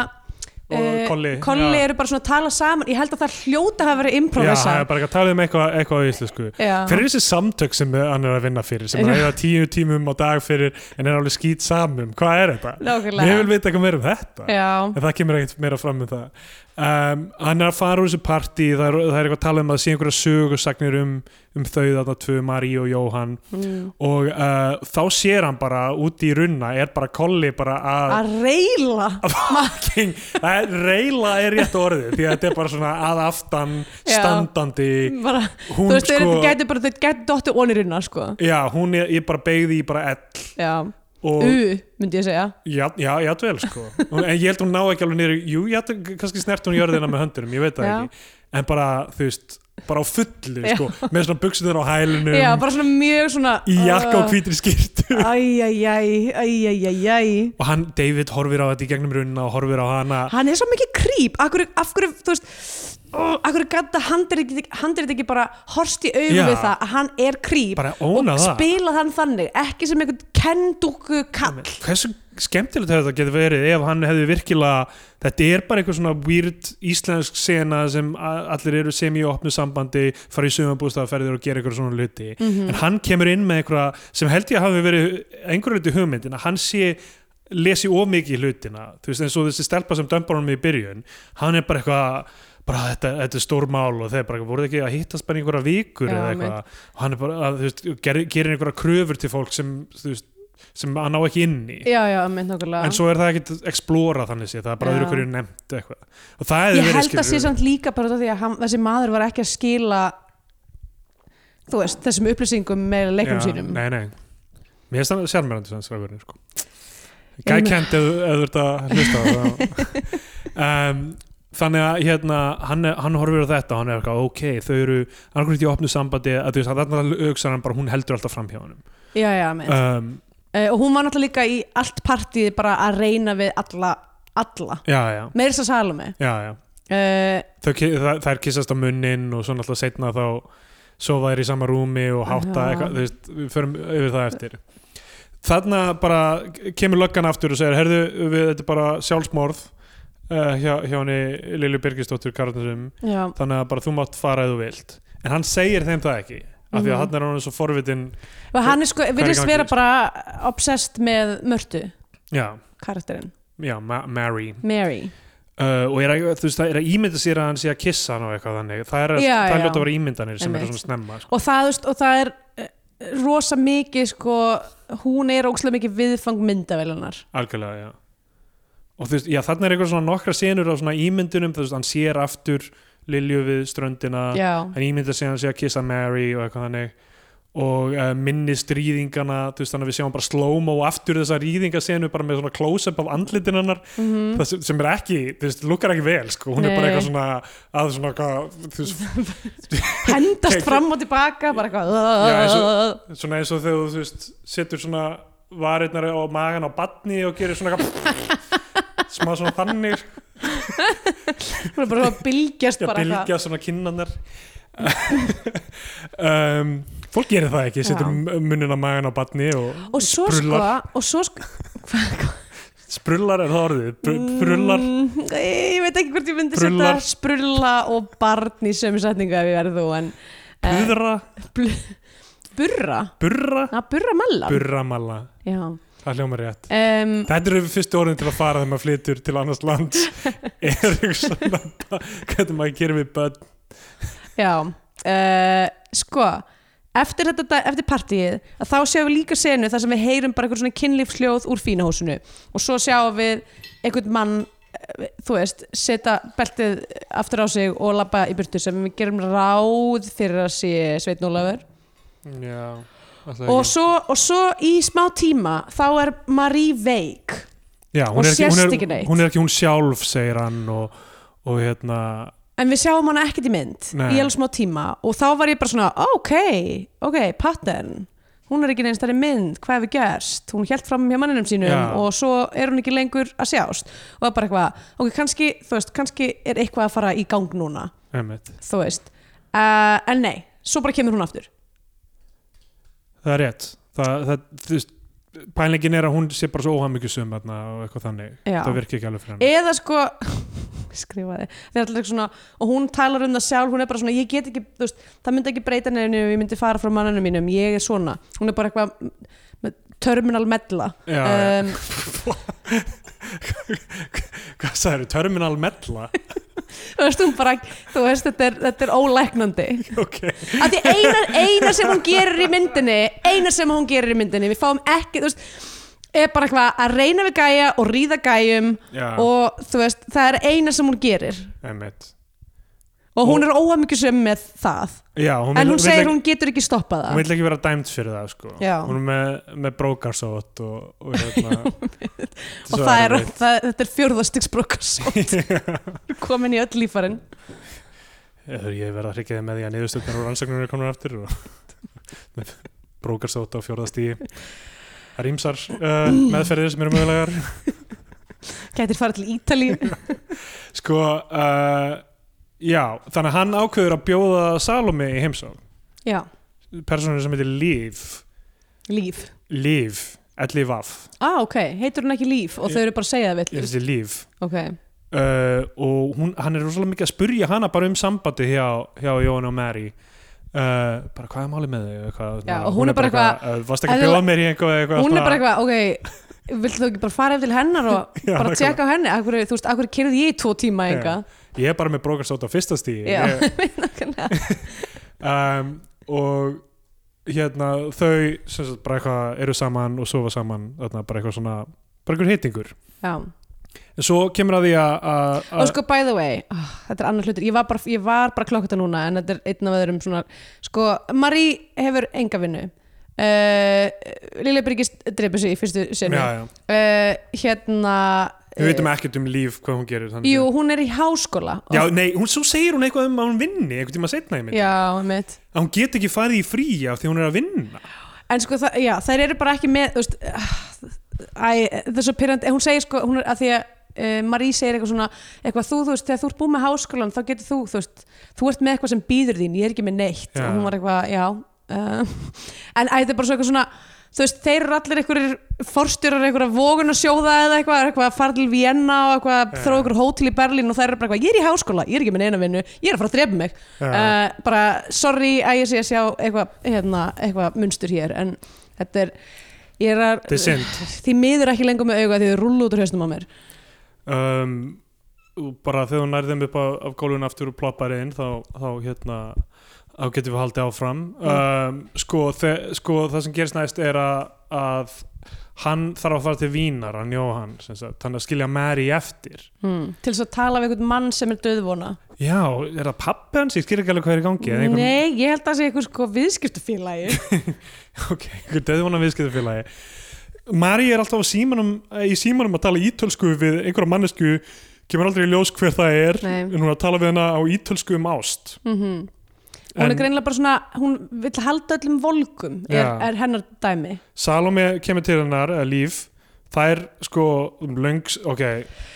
[SPEAKER 1] Og
[SPEAKER 2] eh,
[SPEAKER 1] Kolli,
[SPEAKER 2] Kolli
[SPEAKER 1] já.
[SPEAKER 2] eru bara svona að tala saman ég held að það hljóta hafa verið
[SPEAKER 1] Já, það
[SPEAKER 2] improvisa
[SPEAKER 1] er bara ekki að tala um eitthvað, eitthvað á íslensku
[SPEAKER 2] Já.
[SPEAKER 1] Hver er þessi samtök sem hann er að vinna fyrir sem er að eða tíu tímum á dag fyrir en er alveg skýt samum, hvað er þetta?
[SPEAKER 2] Nákvæmlega.
[SPEAKER 1] Mér vil vita eitthvað meira um þetta
[SPEAKER 2] Já.
[SPEAKER 1] en það kemur ekkert meira fram um það um, hann er að fara úr þessu partí það er, það er eitthvað að tala um að sé einhverja sögursagnir um, um þau þarna tvö, Marí og Jóhann
[SPEAKER 2] Mm.
[SPEAKER 1] og uh, þá sér hann bara úti í runna er bara kolli bara að
[SPEAKER 2] að reyla
[SPEAKER 1] fucking, það er, reyla er rétt orðið því að þetta er bara svona að aftan
[SPEAKER 2] Já.
[SPEAKER 1] standandi
[SPEAKER 2] bara, þú
[SPEAKER 1] hún
[SPEAKER 2] veist, sko,
[SPEAKER 1] sko
[SPEAKER 2] þeir gætu bara þeir gætu dottu onirinna sko
[SPEAKER 1] já, hún er, ég bara beigði í bara ell
[SPEAKER 2] já,
[SPEAKER 1] og
[SPEAKER 2] u, myndi ég segja
[SPEAKER 1] Já, já, játvel sko Hún- en ég held hún ná ekki alveg niður jú, játvel, kannski snert hún jörðina með höndunum, ég veit það
[SPEAKER 2] Já.
[SPEAKER 1] ekki en bara, þú veist, bara á fullu
[SPEAKER 2] Já.
[SPEAKER 1] sko, með svona buksunar á hælunum
[SPEAKER 2] já, bara svona mjög svona
[SPEAKER 1] Um-
[SPEAKER 2] uh,
[SPEAKER 1] í jakka og hvítri skýrtu
[SPEAKER 2] æjæjæj, æjæjæjæj
[SPEAKER 1] og hann, David, horfir á þetta í gegnum runna og horfir á hana
[SPEAKER 2] hann er svo mikið krýp af hverju, af hverju, þú veist ó, af hverju gata handrið ekki bara horst í augu
[SPEAKER 1] Já.
[SPEAKER 2] við það að hann er krýp
[SPEAKER 1] Bara óna
[SPEAKER 2] og
[SPEAKER 1] það.
[SPEAKER 2] spila þann þannig ekki sem einhvern kendúku kall
[SPEAKER 1] hversu skemmtilegt hefur þetta getur verið ef hann hefði virkilega þetta er bara einhver svona weird íslensk sena sem a- allir eru sem í opnu sambandi fara í sumabústaðaferðir og gera einhver svona hluti en hann kemur inn með einhverja sem held ég að hafi verið einhverju hluti hugmyndin að hann sé lesi of mikið í hlutina þú veist eins og þessi stelpa sem dömbar honum í byrjun hann er bara eitthvað bara þetta, þetta er stór mál og þeir bara voru ekki að hittast bara í einhverja vikur
[SPEAKER 2] Já,
[SPEAKER 1] eða eitthvað og hann er bara að, þú veist, ger, gerir einhverja kröfur til fólk sem þú veist sem hann á ekki inn í
[SPEAKER 2] já, já, mynd nokkulega
[SPEAKER 1] en svo er það ekkert explora þannig sé það er bara
[SPEAKER 2] Já.
[SPEAKER 1] öðru hverju nefnt eitthvað og það hefði
[SPEAKER 2] ég
[SPEAKER 1] verið
[SPEAKER 2] held að sé
[SPEAKER 1] skilurðu,
[SPEAKER 2] samt líka bara út af því að hann, þessi maður var ekki að skila þú veist, þessum upplýsingum með leikum
[SPEAKER 1] já,
[SPEAKER 2] sínum
[SPEAKER 1] nei, nei. mér finnst það sérmjörandi sem srákurinn sko.
[SPEAKER 2] Ég meina-
[SPEAKER 1] gækend ef ef þú ert að hlusta á það um, þannig að hérna, hann, er- hann horfir á þetta og hann er eitthvað ok, þau eru annarkvæmt í opnu sambandi að þú veist, þannig að auksar hann bara hún heldur alltaf fram hjá honum
[SPEAKER 2] já, já, mynd
[SPEAKER 1] um,
[SPEAKER 2] uh, og hún var náttúrulega líka í allt partíð bara að reyna við alla, alla
[SPEAKER 1] já, já,
[SPEAKER 2] meira þess að Salome
[SPEAKER 1] já, já
[SPEAKER 2] uh,
[SPEAKER 1] þau, ki- þa- þær kissast á munnin og svo náttúrulega setna þá sofa þær í sama rúmi og hátta
[SPEAKER 2] Já.
[SPEAKER 1] eitthvað, þú veist, við förum yfir það eftir þarna bara kemur löggan aftur og segir, herðu við, þetta er bara sjálfsmorð uh, hjá, hjá henni Lilju Birgisdóttur Karnarsum,
[SPEAKER 2] já,
[SPEAKER 1] þannig að bara þú mátt fara eða þú vilt, en hann segir þeim það ekki af
[SPEAKER 2] Mhm.
[SPEAKER 1] því að hann er hann svo forvitin
[SPEAKER 2] Og hann er sko,
[SPEAKER 1] er í
[SPEAKER 2] virðist
[SPEAKER 1] gangi,
[SPEAKER 2] vera
[SPEAKER 1] sko?
[SPEAKER 2] bara obsessed með mörtu
[SPEAKER 1] já,
[SPEAKER 2] karakterinn,
[SPEAKER 1] já, Ma Mary
[SPEAKER 2] Mary
[SPEAKER 1] uh, og er að, þú veist, það er að ímynda sér að hann sé að kissa hann og eitthvað þannig, það er,
[SPEAKER 2] Já,
[SPEAKER 1] það er
[SPEAKER 2] já.
[SPEAKER 1] ljótt að vera ímyndanir sem
[SPEAKER 2] Einmitt.
[SPEAKER 1] eru svona snemma sko.
[SPEAKER 2] og það, þú veist, og það er eh, rosa mikið sko hún er ógslag mikið viðfang myndavélunar
[SPEAKER 1] algjörlega, já og þú veist, já, þarna er eitthvað svona nokkra senur á svona ímyndunum, þú veist, hann sér aftur Lilju við ströndina
[SPEAKER 2] já,
[SPEAKER 1] hann ímyndar sér hann sé að kissa Mary og eitthvað þannig og uh, minni stríðingana þú veist, þannig að við sjáum bara slow-mo aftur þessa rýðingasenu bara með svona close-up af andlitin hennar,
[SPEAKER 2] mm
[SPEAKER 1] það sem, sem er ekki þú veist, lukkar ekki vel, sko, hún er bara
[SPEAKER 2] Nei.
[SPEAKER 1] eitthvað svona að svona, hvað, þú veist
[SPEAKER 2] hendast
[SPEAKER 1] Ok,
[SPEAKER 2] fram og tilbaka bara eitthvað
[SPEAKER 1] Já, svona eins og þegar þú veist setur svona varirnar á magan á batni og gerir svona eitthvað- smá svona þannig
[SPEAKER 2] hún er bara svona að bylgjast
[SPEAKER 1] Já,
[SPEAKER 2] bara eitthvað.
[SPEAKER 1] bylgja svona kinnanar um, Fólk gerir það ekki, setur
[SPEAKER 2] Já.
[SPEAKER 1] munnina magan á batni og
[SPEAKER 2] og svo
[SPEAKER 1] Sprullar.
[SPEAKER 2] sko og svo sko
[SPEAKER 1] sprullar er það orðið, Br brullar
[SPEAKER 2] mm, ég veit ekki hvort ég myndi
[SPEAKER 1] Brullar.
[SPEAKER 2] setja sprulla og barn í sömu setningu ef ég verði þú en eh,
[SPEAKER 1] Buðra,
[SPEAKER 2] burra
[SPEAKER 1] burra,
[SPEAKER 2] að burra mellan
[SPEAKER 1] burramalla
[SPEAKER 2] já
[SPEAKER 1] Það hljóma rétt
[SPEAKER 2] um,
[SPEAKER 1] Þetta eru fyrstu orðin til að fara þegar maður flytur til annars lands er svona hvernig maður gerir við börn
[SPEAKER 2] Já, uh, sko eftir, þetta, dag- eftir partíið að þá sjáum við líka senu þar sem við heyrum bara eitthvað svona kynlífsljóð úr fínahúsinu og svo sjáum við einhvern mann eh, þú veist, setja beltið aftur á sig og labba í burtu sem við gerum ráð fyrir að sé Sveitn Ólafur
[SPEAKER 1] Já,
[SPEAKER 2] og svo, og svo í smá tíma þá er Marie veik
[SPEAKER 1] Já,
[SPEAKER 2] og
[SPEAKER 1] hún, er ekki,
[SPEAKER 2] sést
[SPEAKER 1] hún,
[SPEAKER 2] ekki
[SPEAKER 1] er,
[SPEAKER 2] neitt.
[SPEAKER 1] hún er ekki hún sjálf, segir hann og, og hérna
[SPEAKER 2] en við sjáum hana ekkert í mynd
[SPEAKER 1] Nei.
[SPEAKER 2] í alveg smá tíma og þá var ég bara svona ok, ok, pattern hún er ekki neins þar í mynd, hvað hefur gerst hún hjælt fram hjá manninum sínum
[SPEAKER 1] Já.
[SPEAKER 2] og svo er hún ekki lengur að sjást og það er bara eitthvað, ok, kannski, þú veist kannski er eitthvað að fara í gang núna
[SPEAKER 1] einmitt.
[SPEAKER 2] þú veist, uh, en nei svo bara kemur hún aftur
[SPEAKER 1] Það er rétt það, það, þú veist, Pælingin er að hún sé bara svo óhamyggjusum þarna og eitthvað þannig
[SPEAKER 2] Já.
[SPEAKER 1] Það virkir ekki alveg fyrir hann
[SPEAKER 2] eða sko skrifaði, það er alltaf svona og hún talar um það sjálf, hún er bara svona ég get ekki, þú veist, það myndi ekki breyta nefnum ég myndi fara frá manninu mínum, ég er svona hún er bara eitthvað með terminal medla
[SPEAKER 1] Já,
[SPEAKER 2] um,
[SPEAKER 1] Hvað sagðið, terminal mella?
[SPEAKER 2] þú veist, hún bara, þú veist, þetta er, þetta er ólæknandi
[SPEAKER 1] ok,
[SPEAKER 2] af því eina, eina sem hún gerir í myndinni eina sem hún gerir í myndinni við fáum ekki, þú veist er bara eitthvað að reyna við gæja og ríða gæjum
[SPEAKER 1] Já.
[SPEAKER 2] og þú veist, það er eina sem hún gerir
[SPEAKER 1] einmitt
[SPEAKER 2] og hún
[SPEAKER 1] Og-
[SPEAKER 2] er óhamyggjusum með það
[SPEAKER 1] Já, hún
[SPEAKER 2] en
[SPEAKER 1] vill-
[SPEAKER 2] hún
[SPEAKER 1] vill
[SPEAKER 2] segir
[SPEAKER 1] ekki-
[SPEAKER 2] hún getur ekki stoppað
[SPEAKER 1] hún
[SPEAKER 2] það
[SPEAKER 1] vil ekki vera dæmt fyrir það sko.
[SPEAKER 2] Já.
[SPEAKER 1] hún er með, með brókarsót og, og, hérna,
[SPEAKER 2] og það er, það, þetta er fjórðastigsbrokkars komin í öll lífarinn
[SPEAKER 1] er ég verða að hryggja þig með því að niðurstöndar og rannsögnunir komur aftur og með brókarsót á fjórðastíi það er ímsar uh, meðferðir sem eru mögulegar
[SPEAKER 2] gætir fara til Ítali
[SPEAKER 1] sko uh, já, þannig að hann ákveður að bjóða Salome í heimsókn
[SPEAKER 2] já,
[SPEAKER 1] personur sem heitir Líf
[SPEAKER 2] líf
[SPEAKER 1] Líf, ellif af
[SPEAKER 2] ah ok, heitur hún ekki líf og þau eru bara að segja það
[SPEAKER 1] ég
[SPEAKER 2] vill
[SPEAKER 1] finnst þið Líf
[SPEAKER 2] ok,
[SPEAKER 1] uh, og hún, hann er rosalega mikið að spurja hana bara um sambandi hjá, hjá Jóhann og Mary uh, bara hvað er málið með þau eitthvað,
[SPEAKER 2] Já,
[SPEAKER 1] svona.
[SPEAKER 2] og hún er bara
[SPEAKER 1] uh, varst ekki að
[SPEAKER 2] Eðlilega-
[SPEAKER 1] bjóða mér í eitthvað, eitthvað
[SPEAKER 2] hún er bara
[SPEAKER 1] svona-
[SPEAKER 2] eitthvað, ok viltu þú ekki bara fara yfir til hennar og
[SPEAKER 1] Já,
[SPEAKER 2] bara
[SPEAKER 1] nákvæmlega.
[SPEAKER 2] tjekka á henni akkur, þú veist, akkur kyrði ég í tvo tíma
[SPEAKER 1] Já.
[SPEAKER 2] enga
[SPEAKER 1] ég er bara með brókarsót á fyrsta stíð
[SPEAKER 2] já,
[SPEAKER 1] ég,
[SPEAKER 2] nákvæmlega.
[SPEAKER 1] um, og hérna þau sem sagt, bara eitthvað eru saman og sofa saman þarna, bara eitthvað svona bara einhver hittingur
[SPEAKER 2] já
[SPEAKER 1] en svo kemur að því að- að
[SPEAKER 2] og
[SPEAKER 1] að-
[SPEAKER 2] sko by the way, oh, þetta er annar hlutur ég var bara, ég var bara klokkata núna en þetta er einn af öðrum svona sko, Marie hefur enga vinnu uh, Lilja Bryggis dreipur sig í fyrstu senu
[SPEAKER 1] já,
[SPEAKER 2] uh,
[SPEAKER 1] já.
[SPEAKER 2] hérna
[SPEAKER 1] við veitum ekkert um líf hvað hún gerir þannig
[SPEAKER 2] jú,
[SPEAKER 1] séð.
[SPEAKER 2] hún er í háskóla
[SPEAKER 1] já,
[SPEAKER 2] Og-
[SPEAKER 1] nei, hún, svo segir hún eitthvað um að hún vinni einhvern tíma setna í mynd
[SPEAKER 2] já, mitt
[SPEAKER 1] að hún get ekki farið í frí af því hún er að vinna
[SPEAKER 2] en sko, það, já, þær eru bara ekki með þú veist, æ, það er svo pyrrandi hún segir sko, hún er að því að uh, Marie segir eitthvað svona, eitthvað þú, þú veist þegar þú ert búið með háskólan, þá getur þú, þú veist þú ert með eitthvað sem býður þín, ég er ekki með neitt
[SPEAKER 1] Já.
[SPEAKER 2] og hún var eitthvað, já uh, en æ, það er bara svo eitthvað svona þú veist, þeir eru allir einhverjir forstjórar einhverja vogun að sjóða eða eitthvað, eitthvað að fara til Vienna og eitthvað að
[SPEAKER 1] Já.
[SPEAKER 2] þróa einhver hótel í Berlín og þær eru bara eitthvað, ég er í háskóla, ég er ekki með neina vinnu ég er að fara að drepa mig
[SPEAKER 1] Já.
[SPEAKER 2] uh, bara sorry að ég sé að sjá eitthvað hérna, eitthva munstur hér en þetta er, ég er
[SPEAKER 1] Þetta er
[SPEAKER 2] að
[SPEAKER 1] synd.
[SPEAKER 2] því miður ekki lengur með auga því þau rullu út úr hausnum á mér
[SPEAKER 1] um, og bara þegar hún nærði þeim upp af, af gólfun aftur og ploppar inn þá, þá hérna þá getum við haldið áfram
[SPEAKER 2] Mm.
[SPEAKER 1] um, sko, þe, sko það sem gerist næst er að, að hann þarf að fara til Vínar hann Jóhann, sem sagt, þannig að skilja Mary eftir
[SPEAKER 2] hmm. til þess að tala við einhvern mann sem er döðvona
[SPEAKER 1] já, er það pappi hans? ég skil ekki alveg hvað er í gangi eða einhver-
[SPEAKER 2] nei, ég held að það sé eitthvað sko viðskiptufélagi
[SPEAKER 1] ok, einhver döðvona viðskiptafélagi Mari er alltaf á símanum, í símanum að tala ítölsku við einhverja mannesku kemur aldrei í ljós hver það er
[SPEAKER 2] Nei.
[SPEAKER 1] en hún er að tala við hana á ítölsku um ást
[SPEAKER 2] mm hún
[SPEAKER 1] en
[SPEAKER 2] er greinlega bara svona hún vill halda öllum volgum er,
[SPEAKER 1] Já.
[SPEAKER 2] er hennar dæmi
[SPEAKER 1] Salome kemur til hennar, eða líf það er sko um löngs, ok,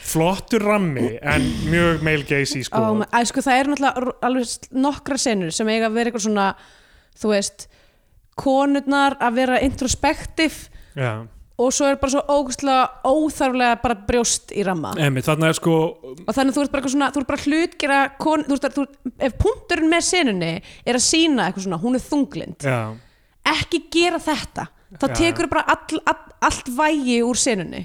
[SPEAKER 1] flottur rammi en mjög male gazy sko
[SPEAKER 2] Ó, ma- Æ, sko, það eru náttúrulega r- alveg s- nokkra senur sem eiga að vera eitthvað svona þú veist, konurnar að vera introspektiv
[SPEAKER 1] já,
[SPEAKER 2] og svo er bara svo ógustlega óþarflega bara brjóst í ramma
[SPEAKER 1] emi, þarna er sko
[SPEAKER 2] og þannig þú ert bara, eitthvað svona, þú ert bara hlutgera kon, þú ert, að- þú, ef punkturinn með senunni er að sína eitthvað svona, hún er þunglind
[SPEAKER 1] já,
[SPEAKER 2] ekki gera þetta þá
[SPEAKER 1] Já, já.
[SPEAKER 2] tekur bara all, all, allt vægi úr senunni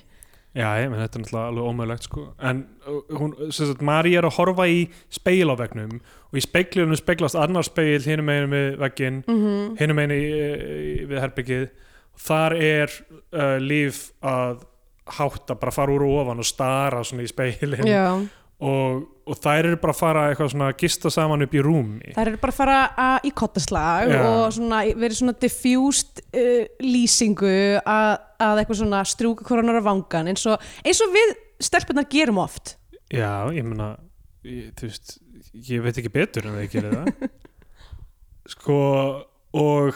[SPEAKER 1] já, ég menn þetta er náttúrulega alveg ómögulegt sko, en uh, hún, sem sagt, Mari er að horfa í speil á vegnum og í speiklunum speglast annar speil hinum meginu við vegginn
[SPEAKER 2] Mhm.
[SPEAKER 1] hinum einu í- við herbyggið þar er uh, líf að hátta, bara fara úr og ofan og stara svona í speilin
[SPEAKER 2] Já.
[SPEAKER 1] og, og þær eru bara að fara eitthvað svona að gista saman upp í rúmi
[SPEAKER 2] þær eru bara að fara að, í kottaslag
[SPEAKER 1] Já.
[SPEAKER 2] og svona, verið svona diffused uh, lýsingu að, að eitthvað svona strjúka koronar á vangan eins og, eins og við stelpunar gerum oft
[SPEAKER 1] Já, ég meina ég, þú veist, ég veit ekki betur en það gerir það sko og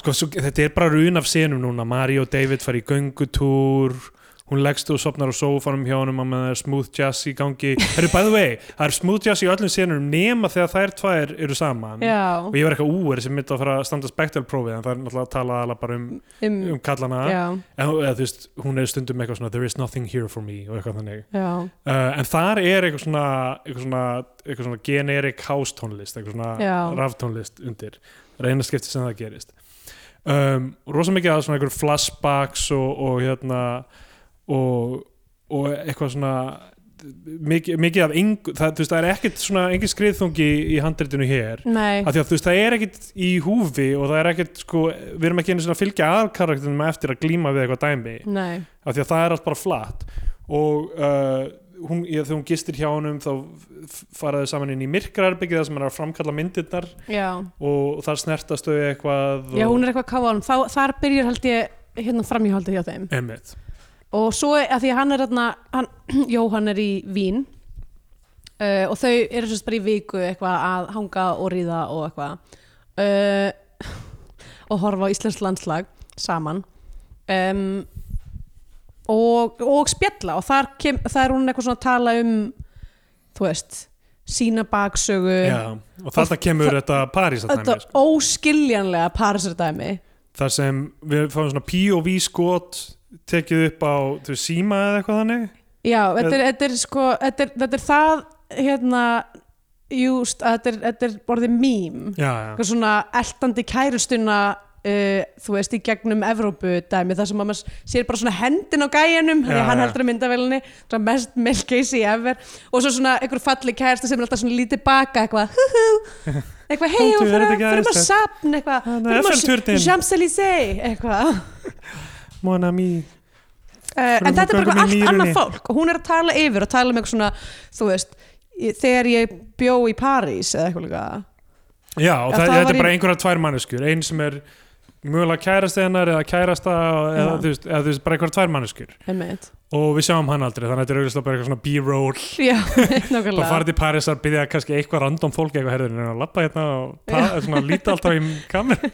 [SPEAKER 1] sko, svo, þetta er bara run af senum núna Mari og David fara í göngutúr hún leggst og sopnar á sófanum hjá honum og með smooth jazz í gangi Heru, by the way, það er smooth jazz í öllum senum nema þegar þær tvær eru saman
[SPEAKER 2] já,
[SPEAKER 1] og ég var eitthvað úr sem myndi að fara að standa spektalprófið en það er náttúrulega að tala alveg bara um,
[SPEAKER 2] um,
[SPEAKER 1] um kallana
[SPEAKER 2] já,
[SPEAKER 1] en, eða, þú veist, hún er stundum eitthvað svona there is nothing here for me og eitthvað þannig
[SPEAKER 2] já
[SPEAKER 1] Uh, en þar er eitthvað svona, eitthvað svona, eitthvað svona generic house tónlist, eitthvað svona
[SPEAKER 2] Já.
[SPEAKER 1] raftónlist undir, reyna skipti sem það gerist um, rosa mikið að svona einhver flashbacks og, og hérna og, og eitthvað svona mikið, mikið af engu, það, þú veist, það er ekkert svona engin skriðþungi í handritinu hér
[SPEAKER 2] nei,
[SPEAKER 1] af því að þú veist, það er ekkert í húfi og það er ekkert, sko, við erum ekki einu sinni að fylgja aðalkaraktinum eftir að glíma við eitthvað dæmi
[SPEAKER 2] nei
[SPEAKER 1] af því að það er allt bara flatt og uh, hún, ég, þegar hún gistir hjá honum þá faraðu saman inn í myrkrarbyggið þar sem hann er að framkalla myndirnar
[SPEAKER 2] já,
[SPEAKER 1] og þar snertast þau eitthvað
[SPEAKER 2] já,
[SPEAKER 1] og...
[SPEAKER 2] hún er eitthvað að káfa á honum Þá, þar byrjar held ég hérna framhjóhaldið hjá þeim
[SPEAKER 1] Einmitt.
[SPEAKER 2] og svo er- að því að hann er þarna hann, Jóhann er í Vín uh, og þau eru svo bara í viku eitthvað að hanga og ríða og eitthvað uh, og horfa á Íslands landslag saman um, og, og spjalla og þar, kem, þar er hún eitthvað svona að tala um þú veist sína baksögu
[SPEAKER 1] Já, og þarna kemur þetta Parísa
[SPEAKER 2] þetta
[SPEAKER 1] dæmi sko.
[SPEAKER 2] óskiljanlega parasardæmi
[SPEAKER 1] þar sem við fáum svona POV skot tekið upp á þú veist, síma eða eitthvað þannig
[SPEAKER 2] Já, þetta er, þetta er sko þetta er, þetta er það hérna júst að þetta er, þetta er orðið mím
[SPEAKER 1] já, já.
[SPEAKER 2] eitthvað svona eltandi kærustuna uh, þú veist í gegnum Evrópu dæmi þar sem að maður sér bara svona hendin á gæjanum þannig
[SPEAKER 1] Já,
[SPEAKER 2] að hann
[SPEAKER 1] já.
[SPEAKER 2] heldur að myndavelinni svona mest melkeisi ever og svo svona einhver falli kærasta sem er alltaf svona lítið baka eitthvað hú hú eitthvað hei
[SPEAKER 1] Komdu,
[SPEAKER 2] og
[SPEAKER 1] er þetta ekki
[SPEAKER 2] fyrir maður
[SPEAKER 1] æðislegt?
[SPEAKER 2] sapn eitthvað
[SPEAKER 1] Þarna
[SPEAKER 2] fyrir
[SPEAKER 1] Eiffelturninn.
[SPEAKER 2] maður Champs-Élysées eitthvað
[SPEAKER 1] Mona mi
[SPEAKER 2] uh, en
[SPEAKER 1] Förum
[SPEAKER 2] þetta er
[SPEAKER 1] og göngum
[SPEAKER 2] bara
[SPEAKER 1] í
[SPEAKER 2] allt annað
[SPEAKER 1] mýrinni.
[SPEAKER 2] fólk og hún er að tala yfir og tala um eitthvað svona þú veist, ég- þegar ég bjó í París eða eitthvað líka
[SPEAKER 1] já, og
[SPEAKER 2] Já,
[SPEAKER 1] það,
[SPEAKER 2] það
[SPEAKER 1] þetta
[SPEAKER 2] var
[SPEAKER 1] er
[SPEAKER 2] í-
[SPEAKER 1] bara einhverja tvær manneskjur ein sem er mögulega kærasta hennar eða kærasta eða,
[SPEAKER 2] Já.
[SPEAKER 1] þú veist, eða þú veist, bara einhverja tvær manneskjur
[SPEAKER 2] einmitt
[SPEAKER 1] og við sjáum hann aldrei þannig að þetta er auðvitað bara eitthvað svona b-roll
[SPEAKER 2] já,
[SPEAKER 1] bara
[SPEAKER 2] nákvæmlega
[SPEAKER 1] farið til Parísar, byrja kannski eitthvað random fólk eitthvað herðin en að lappa hérna og ta- svona, líta alltaf í kamer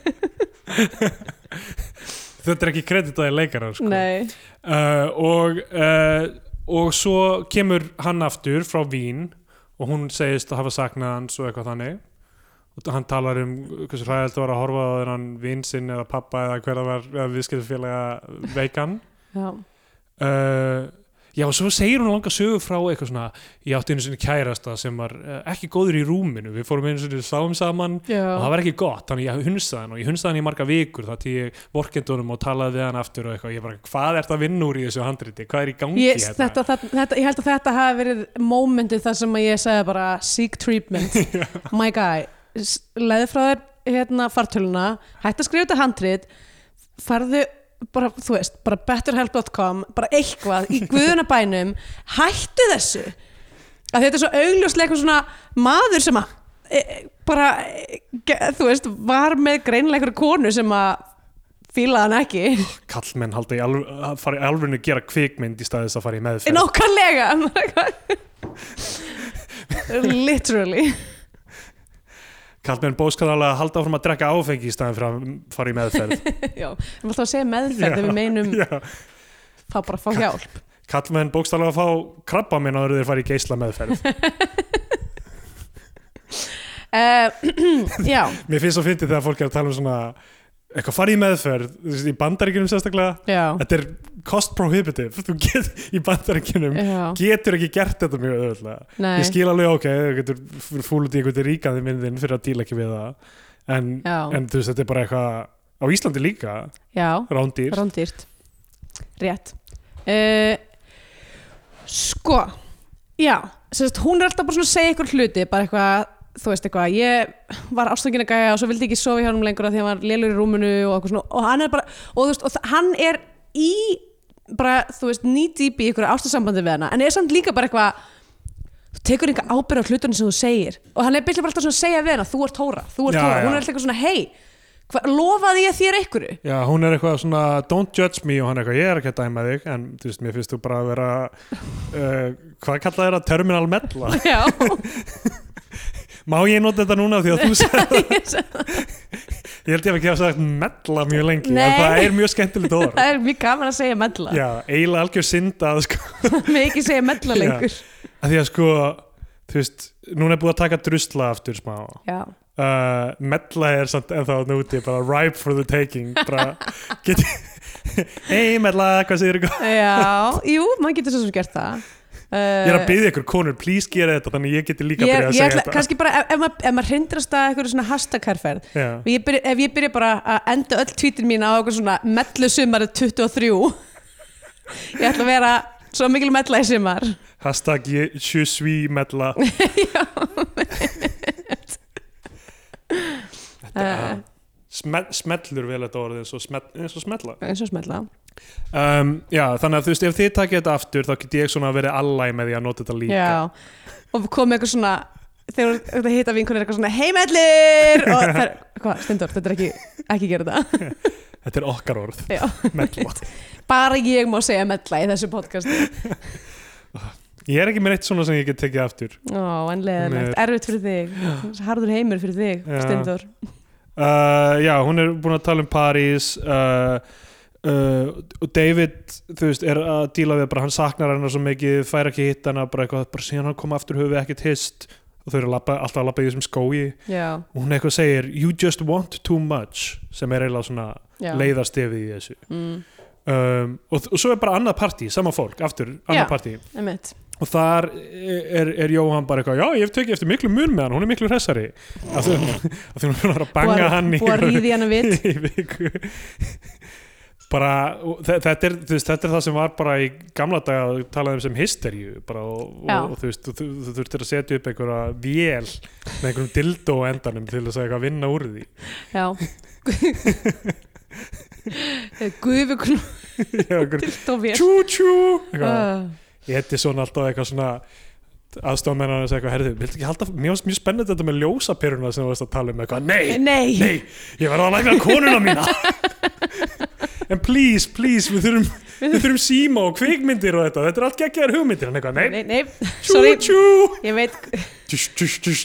[SPEAKER 1] þetta er ekki kreditaði leikarar sko.
[SPEAKER 2] Nei,
[SPEAKER 1] uh, og, uh, og svo kemur hann aftur frá Vín og hún segist að hafa saknað hans og eitthvað þannig og hann talar um hversu hræðilt var að horfa á þennan vinn sinn eða pappa eða hver það var eða viðskiptufélaga veikan
[SPEAKER 2] já,
[SPEAKER 1] uh, já og svo segir hún langa sögu frá eitthvað svona ég átti einu sinni kærasta sem var uh, ekki góður í rúminu við fórum einu sinni sáum saman og það
[SPEAKER 2] já.
[SPEAKER 1] var ekki gott, þannig ég hunsaði hann og ég hunsaði hann í marga vikur þá til ég vorkendunum og talaði við hann aftur og eitthvað, ég bara, hvað ert að vinna úr í þessu handriti, hvað er í gangi hérna.
[SPEAKER 2] Ég, þetta, þetta, þetta, ég held að þetta hafi verið mómentið þar sem að ég segði bara seek treatment, my guy S- leiði frá þér hérna fartöluna, hætti að skrifa þetta handrit farðu bara, þú veist, bara betterhelp.com bara eitthvað í guðunabænum hættu þessu að þetta er svo augljóslega eitthvað svona maður sem að e, e, bara, e, ge- þú veist, var með greinilega einhverju konu sem að fílaði hann ekki
[SPEAKER 1] kallmenn haldi í alv að fara í alvörinu að gera kvikmynd í staðið þess að fara í meðferð
[SPEAKER 2] Nákvæmlega Maður er eitthvað- Literally
[SPEAKER 1] kallmenn bóskaðalega halda áfram að drekka áfengi í staðið fyrir að fara í meðferð
[SPEAKER 2] Já, við erum alltaf að segja meðferð
[SPEAKER 1] Já,
[SPEAKER 2] ef við meinum
[SPEAKER 1] já,
[SPEAKER 2] þá bara fá hjálp
[SPEAKER 1] Kallmenn bókstallega að fá krabba minn áður en þeir fara í geisla meðferð.
[SPEAKER 2] uh, já,
[SPEAKER 1] Mér finnst svo fyndið þegar fólk er að tala um svona eitthvað farið í meðferð, þú veist, í bandaríkjunum sérstaklega.
[SPEAKER 2] já,
[SPEAKER 1] Þetta er cost prohibitive. Þú get í bandaríkjunum
[SPEAKER 2] já
[SPEAKER 1] getur ekki gert þetta mjög öðvöldlega.
[SPEAKER 2] nei,
[SPEAKER 1] Ég skil alveg ok, þú getur fúlut í einhvern ríkaði myndin fyrir að díla ekki við það. En,
[SPEAKER 2] Já.
[SPEAKER 1] en þú veist, þetta er bara eitthvað á Íslandi líka,
[SPEAKER 2] já,
[SPEAKER 1] rándýr.
[SPEAKER 2] rándýrt rétt uh, sko já, sérst, hún er alltaf bara svona að segja ykkur hluti, bara eitthvað þú veist eitthvað, ég var ástöngin að gæja og svo vildi ég ekki sofa hjá hann lengur af því að hann var lélur í rúminu og eitthvað svona, og hann er bara og þú veist, og þ- hann er í bara, þú veist, nýdýp í ykkur ástasambandi við hana, en er samt líka bara eitthvað þú tekur enga ábyrgð á hlutunum sem þú segir og hann er byrjað bara alltaf svona að segja við hana þú ert tóra, þú ert
[SPEAKER 1] Já,
[SPEAKER 2] tóra,
[SPEAKER 1] já.
[SPEAKER 2] hún er alltaf eitthvað svona hei, hva- lofaði ég þér einhverju
[SPEAKER 1] Já, hún er eitthvað svona don't judge me og hann er eitthvað, ég er ekki að dæma þig en þú veist, mér finnst þú bara að vera uh, hvað kallað er að terminal medla
[SPEAKER 2] já,
[SPEAKER 1] má ég nota þetta núna því að þú sagði
[SPEAKER 2] ég sagði
[SPEAKER 1] ég held ég að ekki hafa sagt medla mjög lengi en
[SPEAKER 2] Nei.
[SPEAKER 1] það er mjög skemmtilegt orð
[SPEAKER 2] Það er mjög gaman að segja medla
[SPEAKER 1] Já, eiginlega algjör synd að sko,
[SPEAKER 2] Mér ekki segja medla
[SPEAKER 1] Já.
[SPEAKER 2] lengur
[SPEAKER 1] að því að sko, þú veist núna er búið að taka drusla aftur smá uh,
[SPEAKER 2] Já,
[SPEAKER 1] medla er samt ennþá þarna úti, bara ripe for the taking bara get hei medla, hvað segir ykkur
[SPEAKER 2] já jú, maður getur svo sem gert það
[SPEAKER 1] Ég er að byggja ykkur konur, please gera þetta þannig að ég geti líka
[SPEAKER 2] Uh, Eh, Ég,
[SPEAKER 1] að byrja að
[SPEAKER 2] ég
[SPEAKER 1] segja
[SPEAKER 2] ætla,
[SPEAKER 1] þetta
[SPEAKER 2] kannski bara ef, ef maður- ef maður hindrast að eitthvað svona hashtag-herferð
[SPEAKER 1] Já.
[SPEAKER 2] Ef ég byrja- ef ég byrja bara að enda öll tvítin mín á eitthvað svona mellu sumari 23 ég ætla að vera svo mikil mella í sumar
[SPEAKER 1] Hashtag ég- je suis medla Þetta
[SPEAKER 2] Eh.
[SPEAKER 1] er smet, smellur vel þetta orðið eins og, smet, eins og smetla
[SPEAKER 2] eins og smella
[SPEAKER 1] um, Já, þannig að þú veist, ef þið takið þetta aftur þá get ég svona verið allæg með því að nota þetta líka
[SPEAKER 2] Já, og komið eitthvað svona þegar þetta hitta vinkunir eitthvað svona heimellir og það er, hvað, stendur, þetta er ekki ekki gera þetta
[SPEAKER 1] Þetta er okkar orð,
[SPEAKER 2] Já.
[SPEAKER 1] medla
[SPEAKER 2] bara ég má segja mella í þessu podcasti
[SPEAKER 1] Ég er ekki með neitt svona sem ég get tekið aftur
[SPEAKER 2] Ó, en leðilegt,
[SPEAKER 1] Nei.
[SPEAKER 2] erfitt fyrir þig harður heimur fyrir þig,
[SPEAKER 1] Já.
[SPEAKER 2] Stendur
[SPEAKER 1] uh, Já, hún er búin að tala um París uh, uh, og David þú veist, er að díla við bara hann saknar hennar svo mikið, fær ekki hitt hana bara eitthvað, bara síðan hann kom aftur höfum við ekkert hist og þau eru að labba, alltaf að labba í þessum skói
[SPEAKER 2] Já,
[SPEAKER 1] og hún eitthvað segir you just want too much sem er eiginlega svona
[SPEAKER 2] já
[SPEAKER 1] leiðast yfir í þessu
[SPEAKER 2] mm,
[SPEAKER 1] um, og, og svo er bara annað partí, sama fólk aftur,
[SPEAKER 2] Já.
[SPEAKER 1] annað partí
[SPEAKER 2] einmitt.
[SPEAKER 1] og þar er, er Jóhann bara eitthvað já, ég hef tekið eftir miklu mun með hann, hún er miklu hressari af því af því hún er að
[SPEAKER 2] Búa-
[SPEAKER 1] banga hann í
[SPEAKER 2] Búa að ríði hana við
[SPEAKER 1] í viku bara, og þe- þetta er, þú veist, þetta er það sem var bara í gamla daga að talaði um sem hysteríu bara, og,
[SPEAKER 2] Já.
[SPEAKER 1] og, og þú veist, þú, þú, þú þurftir að setja upp einhverja vél með einhverjum dildó á endanum til þess að eitthvað vinna úr því
[SPEAKER 2] Já Gufu knútt
[SPEAKER 1] Já, einhver,
[SPEAKER 2] og vél
[SPEAKER 1] tjú tjú eitthvað.
[SPEAKER 2] Uh,
[SPEAKER 1] ég heiti svona alltaf eitthvað svona aðstofmennan að segja eitthvað, herðu, viltu ekki halda mjög, mjög spennandi þetta með ljósapyruna sem þú varst að tala um eitthvað, nei,
[SPEAKER 2] Nei,
[SPEAKER 1] nei ég verða að lækna konuna mína en please, please við þurfum, við þurfum síma og kvikmyndir og þetta, þetta er allt geggjaðar hugmyndir en eitthvað, nei,
[SPEAKER 2] nei, nei.
[SPEAKER 1] tjú,
[SPEAKER 2] Sorry,
[SPEAKER 1] tjú
[SPEAKER 2] ég veit
[SPEAKER 1] tjús, tjús, tjús,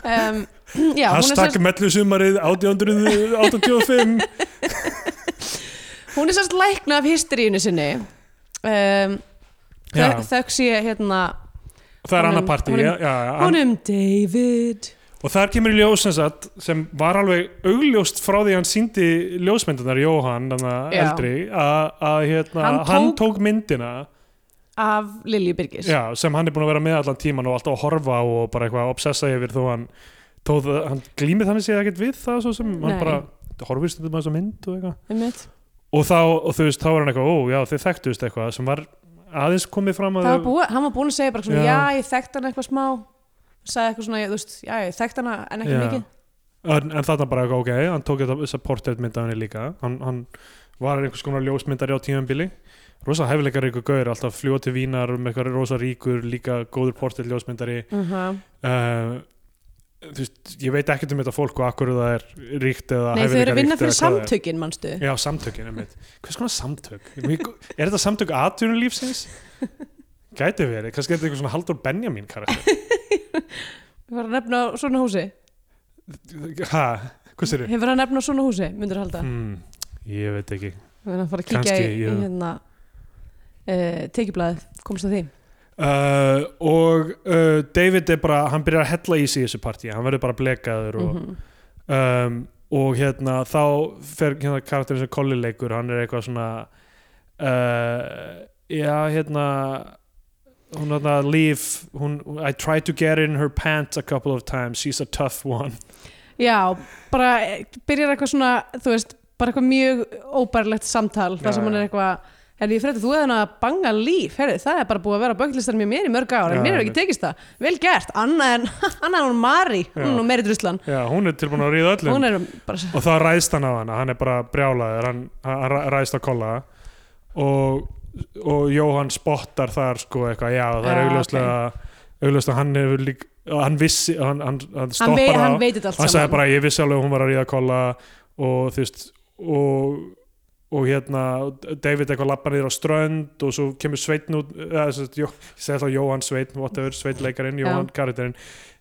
[SPEAKER 2] um, já, hún, er
[SPEAKER 1] hashtag
[SPEAKER 2] sérst,
[SPEAKER 1] mellusumarið 1885
[SPEAKER 2] hún er sérst lækna af hysteríinu sinni um,
[SPEAKER 1] Já.
[SPEAKER 2] þau- Þökk sé hérna
[SPEAKER 1] það er
[SPEAKER 2] Honum-
[SPEAKER 1] annað partí
[SPEAKER 2] honum-
[SPEAKER 1] já, já, já, an-
[SPEAKER 2] Honum David
[SPEAKER 1] og þar kemur í ljós sem, sagt, sem var alveg augljóst frá því hann síndi ljósmyndunar Jóhann, þannig að
[SPEAKER 2] Já.
[SPEAKER 1] eldri að- að hérna,
[SPEAKER 2] Hann
[SPEAKER 1] hann,
[SPEAKER 2] tók-
[SPEAKER 1] tók myndina
[SPEAKER 2] af Lilju Byrgis
[SPEAKER 1] já, sem hann er búin að vera með allan tíman og alltaf að horfa á og bara eitthvað að obsessa yfir þó hann, þó, það- hann glýmið þannig séð ekkert við það svo sem
[SPEAKER 2] Nei.
[SPEAKER 1] hann bara horfist þetta með þessa mynd og eitthvað
[SPEAKER 2] einmitt.
[SPEAKER 1] og þá, og þú veist, þá var hann eitthvað, ó já, þið þekktust eitthvað sem var aðeins komið fram að
[SPEAKER 2] Það var búið, hann var búin að segja bara svona,
[SPEAKER 1] Já.
[SPEAKER 2] já, ég þekkt hann eitthvað smá sagði eitthvað svona, ég, þú veist, já, ég þekkt hann en ekki
[SPEAKER 1] Já.
[SPEAKER 2] mikið
[SPEAKER 1] en, en þarna bara, ok, hann tók þetta þessa portrettmynd af henni líka hann, hann var einhvers konar ljósmyndari á tímanbili rosa hefleikar ykkur gaur, alltaf fljó til vínar um eitthvað rosa ríkur, líka góður portrett ljósmyndari
[SPEAKER 2] uh -huh.
[SPEAKER 1] uh, þú veist, ég veit ekkert um þetta fólk og akkur það er ríkt eða
[SPEAKER 2] Nei, þau eru að vinna
[SPEAKER 1] hæfileikaríkt eða hvað
[SPEAKER 2] fyrir
[SPEAKER 1] það er.
[SPEAKER 2] samtökin, manstu
[SPEAKER 1] Já, samtökin, einmitt. Hvers konar samtök? Er þetta samtök atvinnulífsins? Gæti verið, kannski er þetta eitthvað svona Haldur Benjamin karakter.
[SPEAKER 2] Hefur hann nefna á svona húsi?
[SPEAKER 1] Ha, hvað sér
[SPEAKER 2] Hefur hann nefna á svona húsi, myndur halda?
[SPEAKER 1] Hmm, ég veit ekki
[SPEAKER 2] við erum að fara að
[SPEAKER 1] Hm.
[SPEAKER 2] kíkja
[SPEAKER 1] Kannski,
[SPEAKER 2] í,
[SPEAKER 1] já.
[SPEAKER 2] í hérna uh, tekjublaðið, komst að því
[SPEAKER 1] Uh, og uh, David er bara hann byrjar að hella í sig í þessu partí hann verður bara blekaður og,
[SPEAKER 2] Mhm.
[SPEAKER 1] um, og hérna þá fer hérna karakterinn sem Colli leikur hann er eitthvað svona uh, já hérna hún hérna leave hún, I tried to get in her pants a couple of times she's a tough one
[SPEAKER 2] Já, bara eh, byrjar eitthvað svona, þú veist, bara eitthvað mjög óbærilegt samtal,
[SPEAKER 1] Já,
[SPEAKER 2] þar sem hann
[SPEAKER 1] já.
[SPEAKER 2] er eitthvað Herri, ég frétti, þú hefði hann að banga líf, herri, það er bara búið að vera á bönglistar með mér í mörg ár,
[SPEAKER 1] Já,
[SPEAKER 2] en mér hefur
[SPEAKER 1] einmitt.
[SPEAKER 2] ekki tekist það. Vel gert, annað en, annað en hún Mari, hún
[SPEAKER 1] Já.
[SPEAKER 2] er nú meiri druslan.
[SPEAKER 1] já hún er tilbúin að ríða öllum
[SPEAKER 2] Hún er bara,
[SPEAKER 1] og þá ræðst hann á hana, hann er bara brjálaður hann, hann ræ- ræðst á kolla og, og Jóhann spottar þar sko eitthvað, já það er
[SPEAKER 2] Já,
[SPEAKER 1] augljóslega augljóslega hann hefur líka hann vissi, hann, hann, hann
[SPEAKER 2] hann, vei,
[SPEAKER 1] stoppar
[SPEAKER 2] hann
[SPEAKER 1] það
[SPEAKER 2] veit þetta allt
[SPEAKER 1] hann sagði
[SPEAKER 2] saman.
[SPEAKER 1] bara ég vissi alveg að hún var að ríða kolla og þú veist og, og hérna David eitthvað lappar niður á strönd og svo kemur Sveitn út eða, sem sagt, Jó, ég segi alltaf Jóhann Sveitn, whatever, Sveitnleikarinn
[SPEAKER 2] Já.
[SPEAKER 1] Jóhann karakterinn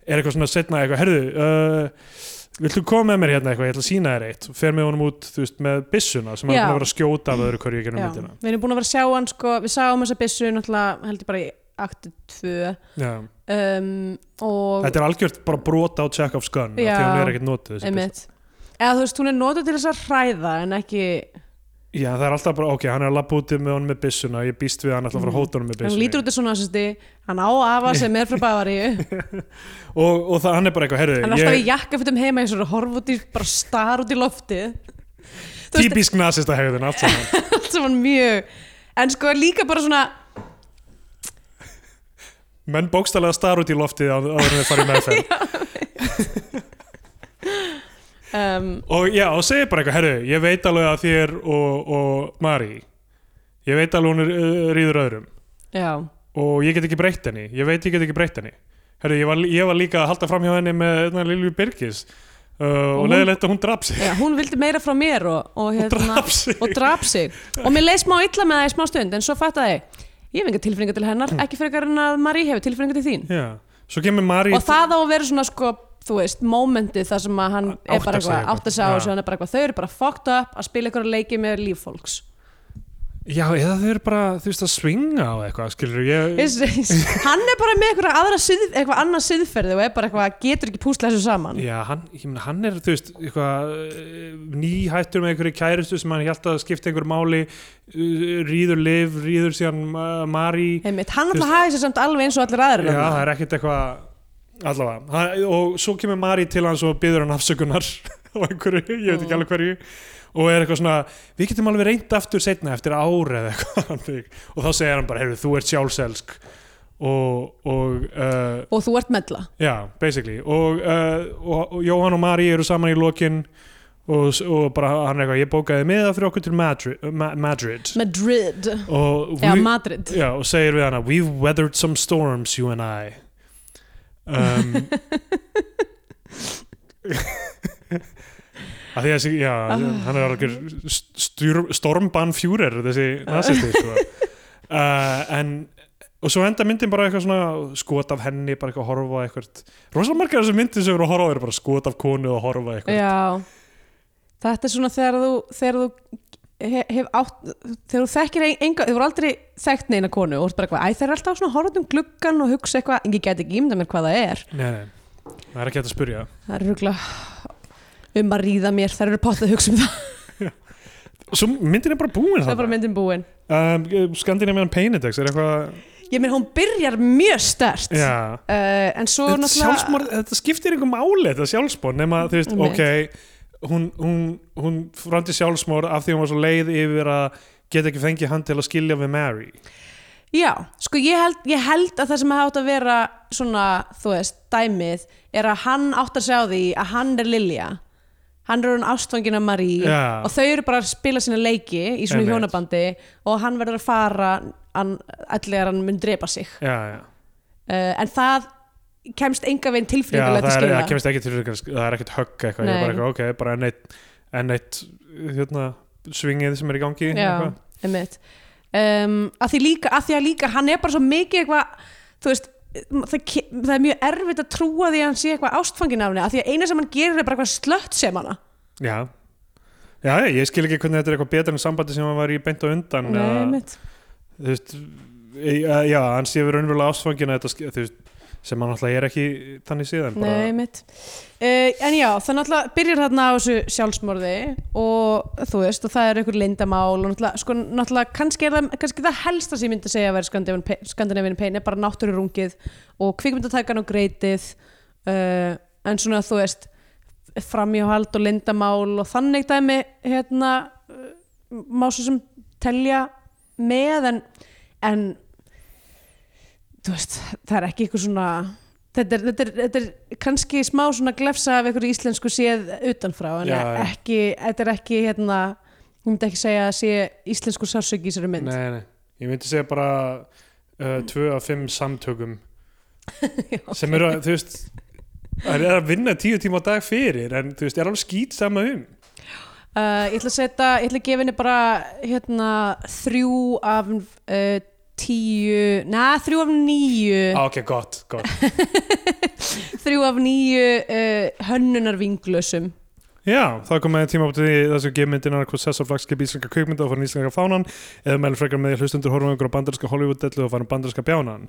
[SPEAKER 1] er eitthvað svona setna eitthvað, herðu uh, viltu koma með mér hérna eitthvað, ég ætla að sína þér eitt og fer með honum út, þú veist, með byssuna sem hann er
[SPEAKER 2] Já.
[SPEAKER 1] búin að vera að skjóta af öðru hverju ekki
[SPEAKER 2] Já,
[SPEAKER 1] myndina
[SPEAKER 2] við erum búin að vera að sjá hann, sko, við sáum þessa byssu, náttúrulega, held ég bara í aktu 2
[SPEAKER 1] Já.
[SPEAKER 2] um, og...
[SPEAKER 1] þetta er algjört bara brota á Chekhov's gun af því
[SPEAKER 2] Já.
[SPEAKER 1] að hún er ekkert notuð þessi byssa.
[SPEAKER 2] Einmitt. Eða þú veist, hún er notað til þess að hræða en ekki,
[SPEAKER 1] Já, það er alltaf bara, ok, hann er að lappa úti með honum með byssuna, ég býst við að hann alltaf að fara að hóta honum með
[SPEAKER 2] hann
[SPEAKER 1] byssuna
[SPEAKER 2] lítur út í svona sérsti, hann á afa sem er frá Bavaríu hann
[SPEAKER 1] og, og það, hann er bara eitthvað, herðu
[SPEAKER 2] er alltaf í jakkafutum heima eins og er að horfa út í, bara star út í loftið þú veist,
[SPEAKER 1] típisk nazista hegðun allt saman
[SPEAKER 2] allt saman mjög en sko líka bara svona
[SPEAKER 1] menn bókstælega star út í loftið á- áður en við farið með þeim
[SPEAKER 2] um,
[SPEAKER 1] og já, og segir bara eitthvað, herru, ég veit alveg að þér og, og Mari ég veit alveg hún er, uh, rýður öðrum
[SPEAKER 2] já,
[SPEAKER 1] og ég get ekki breytt henni, ég veit ég get ekki breytt henni herru, ég var, ég var líka að halda fram hjá henni með hérna, Lilju Birgis uh, og,
[SPEAKER 2] Og hún-
[SPEAKER 1] og leiðilegt að hún draf sig
[SPEAKER 2] já, hún vildi meira frá mér og, og hérna
[SPEAKER 1] draf sig
[SPEAKER 2] og draf sig og mér leið smá illa með það í smá stund en svo fattaði ég, ég hef enga tilfinninga til hennar ekki frekar en að Marie hefur tilfinninga til þín
[SPEAKER 1] já, svo kemur Mari
[SPEAKER 2] og það á að vera svona sko þú veist, momentið þar sem að hann er
[SPEAKER 1] Áttar
[SPEAKER 2] bara
[SPEAKER 1] sig
[SPEAKER 2] eitthvað,
[SPEAKER 1] eitthvað.
[SPEAKER 2] átt að segja á
[SPEAKER 1] Já.
[SPEAKER 2] þessu hann er bara eitthvað, þau eru bara fucked up að spila eitthvað leiki með líf fólks
[SPEAKER 1] já, eða þau eru bara, þú veist, að svinga á eitthvað, skilur ég
[SPEAKER 2] Is- is- hann er bara með eitthvað, aðra sið, eitthvað annað siðferði og er bara eitthvað, getur ekki púsla þessu saman
[SPEAKER 1] Já, hann, ég meina, hann er, þú veist, eitthvað eh, nýhættur með einhverju kæristu sem hann held að skipta einhverju máli eh, ríður Liv, ríður síðan uh, Mari,
[SPEAKER 2] Einmitt, hann
[SPEAKER 1] Þú
[SPEAKER 2] alltaf hafið sér samt alveg eins og allir
[SPEAKER 1] já,
[SPEAKER 2] aðrir
[SPEAKER 1] það er ekkert eitthvað allavega, hann, og svo kemur Mari til hans og byður hann afsökunar á einhverju, ég veit ekki alveg hverju og er eitthvað svona, við getum alveg reynd aftur setna eftir ári eða eitthvað þannig. og þá segir hann bara, heyrðu, þú ert sjálfselsk og, og uh,
[SPEAKER 2] og þú ert meðla
[SPEAKER 1] Já, basically og, uh, og, og Jóhann og Mari eru saman í lokin og, og bara hann er eitthvað ég bókaði miða fyrir okkur til Madrid, Ma Madrid.
[SPEAKER 2] Madrid,
[SPEAKER 1] Og,
[SPEAKER 2] eða
[SPEAKER 1] we,
[SPEAKER 2] Madrid
[SPEAKER 1] já, og segir við hana We've weathered some storms, you and I um, að því að þessi, já,
[SPEAKER 2] Ah.
[SPEAKER 1] hann er alveg stjúr- stormbann fjúrer þessi
[SPEAKER 2] Ah.
[SPEAKER 1] nasisti sko. uh, en og svo enda myndin bara eitthvað svona skot af henni, bara eitthvað að horfa á eitthvað rosalega margar þessu myndin sem eru að horfa á eru bara skot af konu og að horfa á eitthvað
[SPEAKER 2] já þetta er svona þegar þú þegar þú hef, hef átt þegar þú þekkir ein- enga, þú voru aldrei þekkt neina konu og þú ert bara eitthvað, æ þeir eru alltaf svona horfðum um gluggan og hugsa eitthvað, en ég get ekki ímda mér hvað það er
[SPEAKER 1] nei, nei, það er ekki hægt að spyrja
[SPEAKER 2] það eru rúgla um að ríða mér, þær eru pottað að hugsa um það
[SPEAKER 1] svo myndin er bara búin
[SPEAKER 2] það er bara myndin búin
[SPEAKER 1] um, Skandinavian Painitex er eitthvað
[SPEAKER 2] ég meina hún byrjar mjög stert uh,
[SPEAKER 1] já
[SPEAKER 2] en svo
[SPEAKER 1] þetta,
[SPEAKER 2] náttúrulega
[SPEAKER 1] sjálfsmorð, þetta skiptir einhver máli þetta sjálfsmór nema þú veist,
[SPEAKER 2] Einmitt.
[SPEAKER 1] ok hún, hún, hún framti sjálfsmór af því hún var svo leið yfir að geta ekki fengið hann til að skilja við Mary
[SPEAKER 2] já, sko ég held, ég held að það sem átt að vera svona, þú veist, dæmið er að hann átt að segja á því að hann er Lilja hann er hún ástfangin af Marie
[SPEAKER 1] Já.
[SPEAKER 2] og þau eru bara að spila sína leiki í svona
[SPEAKER 1] Einmitt.
[SPEAKER 2] hjónabandi og hann verður að fara hann, allir hann mun drepa sig uh,
[SPEAKER 1] já, já.
[SPEAKER 2] en það kemst enga veginn
[SPEAKER 1] Já, það,
[SPEAKER 2] tilfríkulega til
[SPEAKER 1] er, það
[SPEAKER 2] skila
[SPEAKER 1] kemst ekki til það er ekkert högg eitthvað, ég er
[SPEAKER 2] Nei.
[SPEAKER 1] bara, eitthvað, ok, bara enn eitt enn eitt hérna, svingið sem er í gangi
[SPEAKER 2] Já,
[SPEAKER 1] eitthvað.
[SPEAKER 2] einmitt um, að, því líka, að því að líka, hann er bara svo mikið eitthvað, þú veist það, ke- það er mjög erfitt að trúa því að hann sé eitthvað ástfangin af henni, að því að eina sem hann gerir er bara eitthvað slött sem hana
[SPEAKER 1] já Já, já, ég skil ekki hvernig þetta er eitthvað betra en sambandi sem hann var í beint á undan
[SPEAKER 2] Nei,
[SPEAKER 1] eða,
[SPEAKER 2] einmitt.
[SPEAKER 1] þú veist, e- að- já, hann sé verið raunverulega ástfangin að þetta, sk- þú veist, sem hann alltaf er ekki þannig síðan bara,
[SPEAKER 2] Nei, mitt. Uh, en já, það náttúrulega byrjar þarna á þessu sjálfsmorði og þú veist, og það er einhver lindamál og náttúrulega, sko, náttúrulega kannski, er það, kannski það helsta sem ég myndi segja að vera Scandinavian Pain- Scandinavian Pain er bara náttúrurungið og kvikmyndatækan og greitið uh, en svona þú veist framhjáhald og lindamál og þannig dæmi hérna uh, má svo sem telja með en, en þú veist, það er ekki eitthvað svona þetta er, þetta, er, þetta er kannski smá svona glefsa af einhverju íslensku séð utanfrá en
[SPEAKER 1] Já, já.
[SPEAKER 2] ekki, þetta er ekki hérna, ég myndi ekki segja að sé íslensku sársöki í sér mynd
[SPEAKER 1] nei, nei, ég myndi segja bara uh, tvö af fimm samtökum sem eru, að, þú veist það er að vinna tíu tíma á dag fyrir en þú veist, er alveg skýt sama um
[SPEAKER 2] Uh, ég ætla að setja, ég ætla að gefa henni bara hérna þrjú af uh, tíu, neða þrjú af níu,
[SPEAKER 1] ah, ok, gott, gott
[SPEAKER 2] þrjú af níu uh, hönnunar vinglösum.
[SPEAKER 1] Já, þá kom með tíma upp til því þessu gefmyndin annað hvort sess og flagskip íslenska kvikmynda og farin íslenska fánan eða meðlum frekar með því að hlustundur horfum ykkur á bandarska Hollywood-dellu og farin bandarska bjánan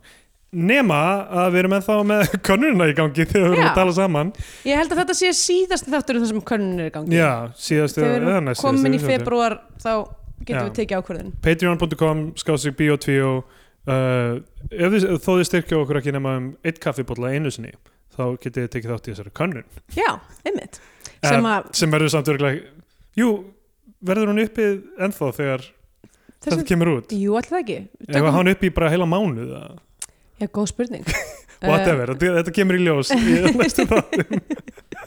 [SPEAKER 1] nema að við erum ennþá með könnuna í gangi þegar við erum
[SPEAKER 2] Já.
[SPEAKER 1] að tala saman
[SPEAKER 2] Ég held að þetta sé síðast þáttur um það sem könnun er í gangi.
[SPEAKER 1] Já, síðast
[SPEAKER 2] Þegar við
[SPEAKER 1] eða
[SPEAKER 2] erum
[SPEAKER 1] næst
[SPEAKER 2] komin í februar þá getum
[SPEAKER 1] Já.
[SPEAKER 2] við tekið ákvörðin.
[SPEAKER 1] Patreon.com, skásig B.O.T. Uh, ef þið, þó þið styrkja okkur ekki nema um eitt kaffibólla einu sinni þá getið þið tekið þátt í þessari könnun
[SPEAKER 2] Já, einmitt.
[SPEAKER 1] Eh,
[SPEAKER 2] Sem að
[SPEAKER 1] sem verður samt örgulega Jú, verður hún uppið ennþá þegar
[SPEAKER 2] þessum,
[SPEAKER 1] þetta kemur út
[SPEAKER 2] jú alltaf ekki.
[SPEAKER 1] Ef að hann upp í bara heila mánuð eða?
[SPEAKER 2] Já, góð spurning.
[SPEAKER 1] Whatever, þetta, þetta kemur í ljós í næstu þáttum Það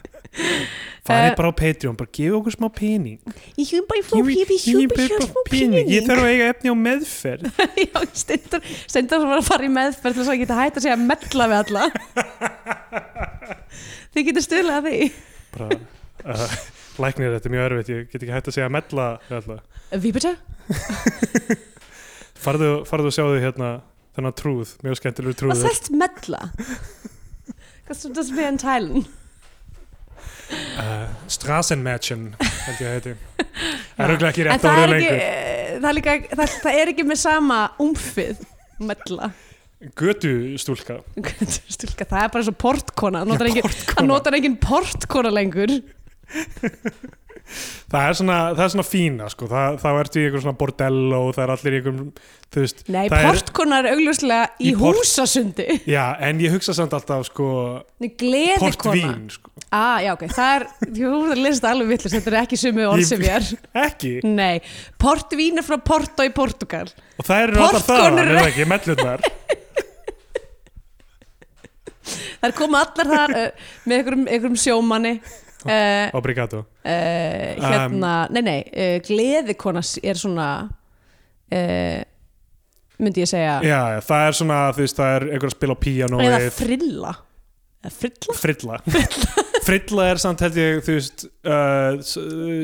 [SPEAKER 2] Eh,
[SPEAKER 1] er bara á Patreon, bara gefa okkur smá pening
[SPEAKER 2] Ég hef bara
[SPEAKER 1] Gefa-
[SPEAKER 2] fóð, ég hef
[SPEAKER 1] gefa
[SPEAKER 2] bara
[SPEAKER 1] okkur Ég
[SPEAKER 2] fóð pening.
[SPEAKER 1] þarf að eiga efni á meðferð
[SPEAKER 2] Já, stundar, stundar sem var að fara í meðferð til þess að geta hætt að segja mella við alla Þið getur stuðlega að því
[SPEAKER 1] bara, uh, Læknir, þetta er mjög erfitt Ég get ekki hægt að segja mella hérna. við alla.
[SPEAKER 2] Víbita?
[SPEAKER 1] Farðu, farðu og sjáðu hérna þennan trúð, mjög skemmtilegur
[SPEAKER 2] Hvað
[SPEAKER 1] trúður
[SPEAKER 2] þess mella? Hvað sem þess við enn tælun?
[SPEAKER 1] uh, Strasenmatchen held ég að heiti Það
[SPEAKER 2] Já.
[SPEAKER 1] er auðvitað ekki
[SPEAKER 2] En
[SPEAKER 1] rétt
[SPEAKER 2] það
[SPEAKER 1] ára
[SPEAKER 2] er, ekki,
[SPEAKER 1] lengur
[SPEAKER 2] eh, það, er líka, það, það er ekki með sama umfið mella
[SPEAKER 1] Götu stúlka
[SPEAKER 2] Stúlka, það er bara svo portkona Það notar
[SPEAKER 1] Já,
[SPEAKER 2] engin-
[SPEAKER 1] portkona.
[SPEAKER 2] það notar engin portkona lengur
[SPEAKER 1] Það er svona, það er svona fína sko. Þa, þá ertu í einhver svona bordello og það er allir í einhver, þú veist
[SPEAKER 2] Nei,
[SPEAKER 1] það er-
[SPEAKER 2] portkona er augljóslega í,
[SPEAKER 1] Í port-
[SPEAKER 2] húsasundi
[SPEAKER 1] Já, en ég hugsa samt alltaf sko
[SPEAKER 2] Nei, Gleðikona
[SPEAKER 1] portvín sko.
[SPEAKER 2] Ah, já, ok, það er, þú voru að lesa þetta alveg villist, þetta er ekki sumu orð
[SPEAKER 1] Ég-
[SPEAKER 2] sem ég er.
[SPEAKER 1] Ekki,
[SPEAKER 2] Nei, portvín er frá Porto í Portugal.
[SPEAKER 1] og það eru alltaf það
[SPEAKER 2] Portkonur-
[SPEAKER 1] er það ekki, mellutnar
[SPEAKER 2] Það er komið allar þar uh, með einhverjum, einhverjum sjómanni, uh,
[SPEAKER 1] Obrigado
[SPEAKER 2] uh,
[SPEAKER 1] Um,
[SPEAKER 2] hérna, nei, nei, uh, gleðikona er svona, uh, myndi ég segja,
[SPEAKER 1] Já, já, það er svona, þú veist, það er einhver að spila á
[SPEAKER 2] eða
[SPEAKER 1] píanóið
[SPEAKER 2] frilla. Eða frilla?
[SPEAKER 1] Frilla Frilla er samt held ég, þú veist uh, s-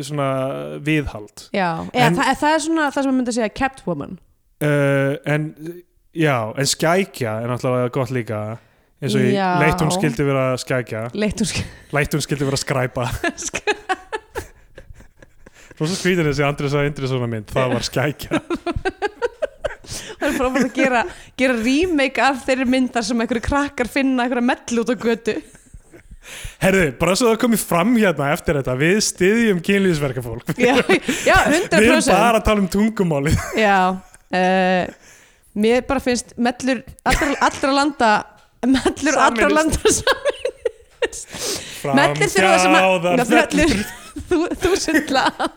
[SPEAKER 1] svona viðhald
[SPEAKER 2] Já, eða
[SPEAKER 1] En-
[SPEAKER 2] það, eða það er svona það sem myndi segja catwoman.
[SPEAKER 1] uh, En, já, en skækja er náttúrulega gott líka eins og í
[SPEAKER 2] Já.
[SPEAKER 1] leitt hún skildi vera skækja
[SPEAKER 2] Leitt úr
[SPEAKER 1] leitt hún skildi vera skræpa
[SPEAKER 2] skæðska.
[SPEAKER 1] Svo skvítir þessi Andrés að Indri svona mynd, það var skækja
[SPEAKER 2] Það er frábært að gera, gera remake af þeirri myndar sem einhverju krakkar finna einhverja mellu út á götu.
[SPEAKER 1] Herðu, bara svo það komið fram hérna eftir þetta, við styðjum kynlýfsverkafólk
[SPEAKER 2] já, já,
[SPEAKER 1] Við erum
[SPEAKER 2] 100%
[SPEAKER 1] bara að tala um tungumálið
[SPEAKER 2] já, uh, mér bara finnst mellur allra, allra landa mellur allra
[SPEAKER 1] Sameinist.
[SPEAKER 2] landa saman mellir þurfa sem að
[SPEAKER 1] Framhjáðar,
[SPEAKER 2] mellur þú- þúsund landa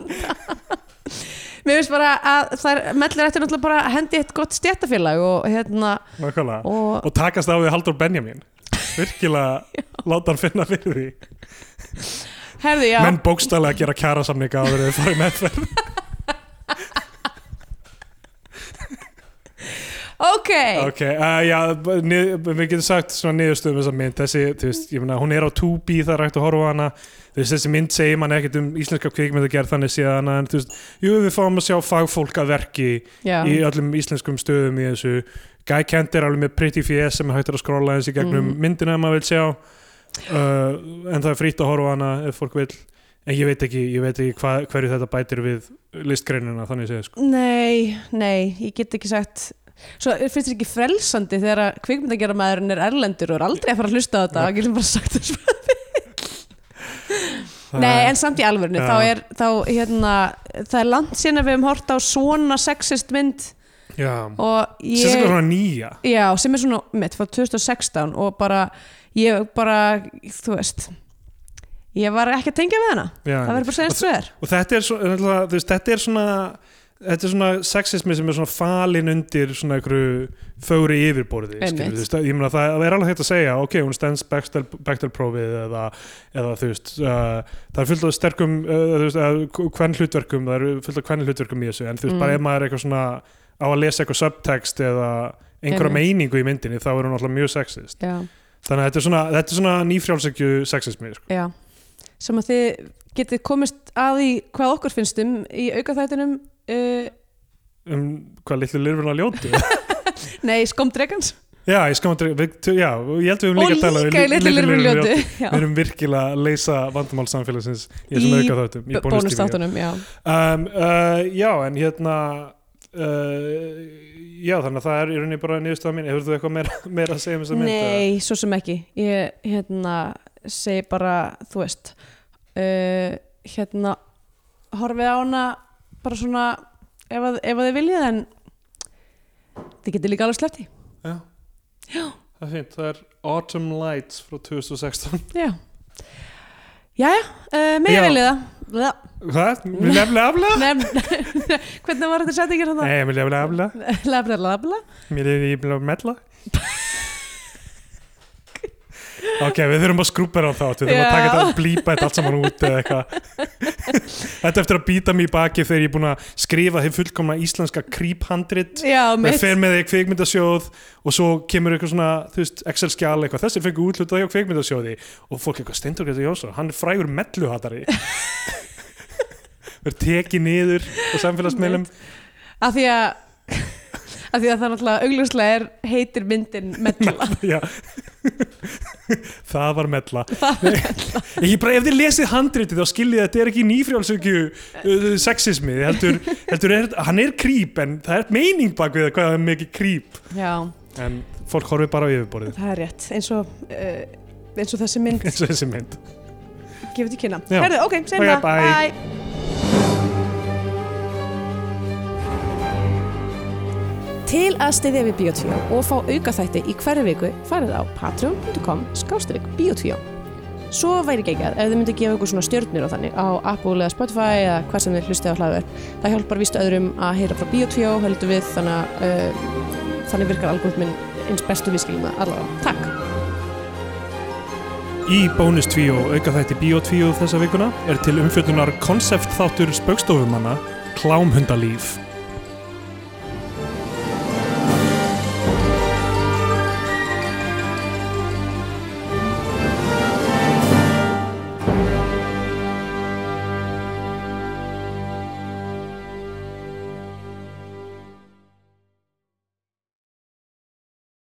[SPEAKER 2] mér finnst bara að það er mellur eftir náttúrulega bara að hendi í eitt gott stjættafélag og hérna
[SPEAKER 1] Nákvæmlega.
[SPEAKER 2] og
[SPEAKER 1] Og takast á við Haldur Benjamin Virkilega láta hann finna fyrir því
[SPEAKER 2] herði já
[SPEAKER 1] Menn bókstælega gera kjarasamninga áður en við farið meðferð
[SPEAKER 2] ok,
[SPEAKER 1] Ok, uh, já, nið, við getum sagt svona niðurstöðum þessa mynd þessi, þú veist, ég meina, hún er á 2B það er hægt að horfa á hana, þú veist, þessi mynd segir mann ekkert um íslenska kvikmynd að gera þannig síðan en þú veist, jú, við fáum að sjá fagfólk að verki
[SPEAKER 2] já,
[SPEAKER 1] í öllum íslenskum stöðum í þessu Guy Kent er alveg með Pretty F.S. sem er hægt er að skrolla
[SPEAKER 2] Mm.
[SPEAKER 1] eins í gegnum myndina ef maður vil sjá uh, en það er frýtt að horfa á hana ef fólk vil en ég veit ekki, ég veit ekki hva, hverju þetta bætir við listgreinina þannig séð sko.
[SPEAKER 2] Nei, nei, ég get ekki sagt Svo finnst þér ekki frelsandi þegar að kvikmyndagjara maðurinn er erlendur og er aldrei að fara að hlusta á þetta
[SPEAKER 1] Nei.
[SPEAKER 2] og getur bara sagt þess
[SPEAKER 1] Það-
[SPEAKER 2] Nei, en samt í alvörinu,
[SPEAKER 1] Já.
[SPEAKER 2] þá er þá, hérna, það er langt síðan að við höfum hort á svona sexist mynd
[SPEAKER 1] Já,
[SPEAKER 2] og ég
[SPEAKER 1] sérstaklega svona nýja
[SPEAKER 2] Já, sem er svona mitt frá 2016 og bara, ég bara þú veist ég var ekki að tengja við hana
[SPEAKER 1] Já,
[SPEAKER 2] það verður bara að segja eins og er
[SPEAKER 1] og þetta er, svo, náttúrulega, þú veist, þetta er svona þetta er svona sexismi sem er svona falin undir svona einhverju fögri yfirborði
[SPEAKER 2] Einmitt.
[SPEAKER 1] skilur, þú veist, ég meina það er alveg hægt að segja ok, hún stendst Bechtel, Bechtel prófið eða, eða þú veist uh, það er fullt af sterkum uh, þú veist, uh, hvern hlutverkum, það eru fullt af hvern hlutverkum í þessu, en þú veist,
[SPEAKER 2] Mm.
[SPEAKER 1] bara ef maður er eitthvað svona á að lesa eitthvað subtext eða einhverja
[SPEAKER 2] Einmitt.
[SPEAKER 1] meiningu í myndinni þá er hún alltaf mjög sexist
[SPEAKER 2] Já,
[SPEAKER 1] þannig að þetta er svona, þetta er svona nýfrjálsækju sexismi sko.
[SPEAKER 2] já sem að þið getið komist að í hvað okkur finnstum í aukaþættinum uh,
[SPEAKER 1] um hvað litlu lirfurna ljóti
[SPEAKER 2] nei, skomdregans
[SPEAKER 1] Já, ég skamandri, já, ég held við höfum
[SPEAKER 2] og
[SPEAKER 1] líka að tala um
[SPEAKER 2] líka í litlu lirfum ljótu
[SPEAKER 1] Við erum virkilega að leysa vandamál samfélagsins í þessum
[SPEAKER 2] Í
[SPEAKER 1] auka þáttum í bónustáttunum
[SPEAKER 2] bónustáttunum, já
[SPEAKER 1] um, uh, Já, en hérna uh, Já, þannig að það er í rauninni bara niðurstaða mín Hefur þú eitthvað meira, meira að segja um þessa mynd?
[SPEAKER 2] Nei, svo sem ekki Ég hérna, segi bara þú veist uh, hérna horfið á hana bara svona ef, að, ef að þið viljið en þið getið líka alveg sleppt í
[SPEAKER 1] Já. Það er fínt, það er Autumn Lights frá 2016
[SPEAKER 2] Já, Jæja, uh, megið
[SPEAKER 1] Já.
[SPEAKER 2] viljið það Já.
[SPEAKER 1] Hvað? Vil lefla afla?
[SPEAKER 2] Nefn, Hvernig var þetta settingir hann?
[SPEAKER 1] Nei, vil lefla afla
[SPEAKER 2] Labla, labla
[SPEAKER 1] Mér er ég að mella Ok, við þurfum að skrúpera á þátt Við þurfum að taka
[SPEAKER 2] Já.
[SPEAKER 1] þetta, blípa þetta allt saman út eða eitthvað Þetta er eftir að býta mig í baki þegar ég er búin að skrifa þið fullkomna íslenska creephandrit
[SPEAKER 2] Já,
[SPEAKER 1] Það
[SPEAKER 2] mitt
[SPEAKER 1] fer með þig kveikmyndasjóð og svo kemur eitthvað svona, þú veist, Excel-skjál eitthvað, þessir fengur útlutað hjá kveikmyndasjóði og fólk eitthvað, Steindur Gretar Jónsson, hann er frægur melluhatari Verð tekið niður á samfélagsmiðlum
[SPEAKER 2] Af því að af því að það náttúrulega augljóslega er heitir myndin Mella
[SPEAKER 1] Já. Það var mella
[SPEAKER 2] Það
[SPEAKER 1] Ég bara, ef þið lesið handritið þá skiljið að þetta er ekki nýfrjálsökju uh, sexismi, heldur, heldur er, hann er krýp en það er meining bak við það hvað það er mikið krýp
[SPEAKER 2] Já,
[SPEAKER 1] en fólk horfið bara á yfirborðið
[SPEAKER 2] það er rétt eins og, uh, eins og þessi mynd
[SPEAKER 1] eins og þessi mynd
[SPEAKER 2] gefur til kynna
[SPEAKER 1] Já.
[SPEAKER 2] Herðu, ok, segjum
[SPEAKER 1] Ok,
[SPEAKER 2] það,
[SPEAKER 1] bye.
[SPEAKER 2] bye. Til að stiðja við Bíotvíó og fá aukaþætti í hverju viku farið á patreon.com skástrík Bíotvíó. Svo væri geggjað ef þið myndu gefa ykkur svona stjörnir á þannig á Apple eða Spotify eða hvað sem þið hlustið á hlaður. Það hjálpar víst öðrum að heyra frá Bíotvíó, höldum við, þannig, að, uh, þannig virkar algoritminn eins bestu við skiljum það allavega. Takk!
[SPEAKER 1] Í bónus 2 og auka þætti Bíó 2 þessa vikuna er til umfjöldunar konsept þáttur spaukstofumanna Klámhundalíf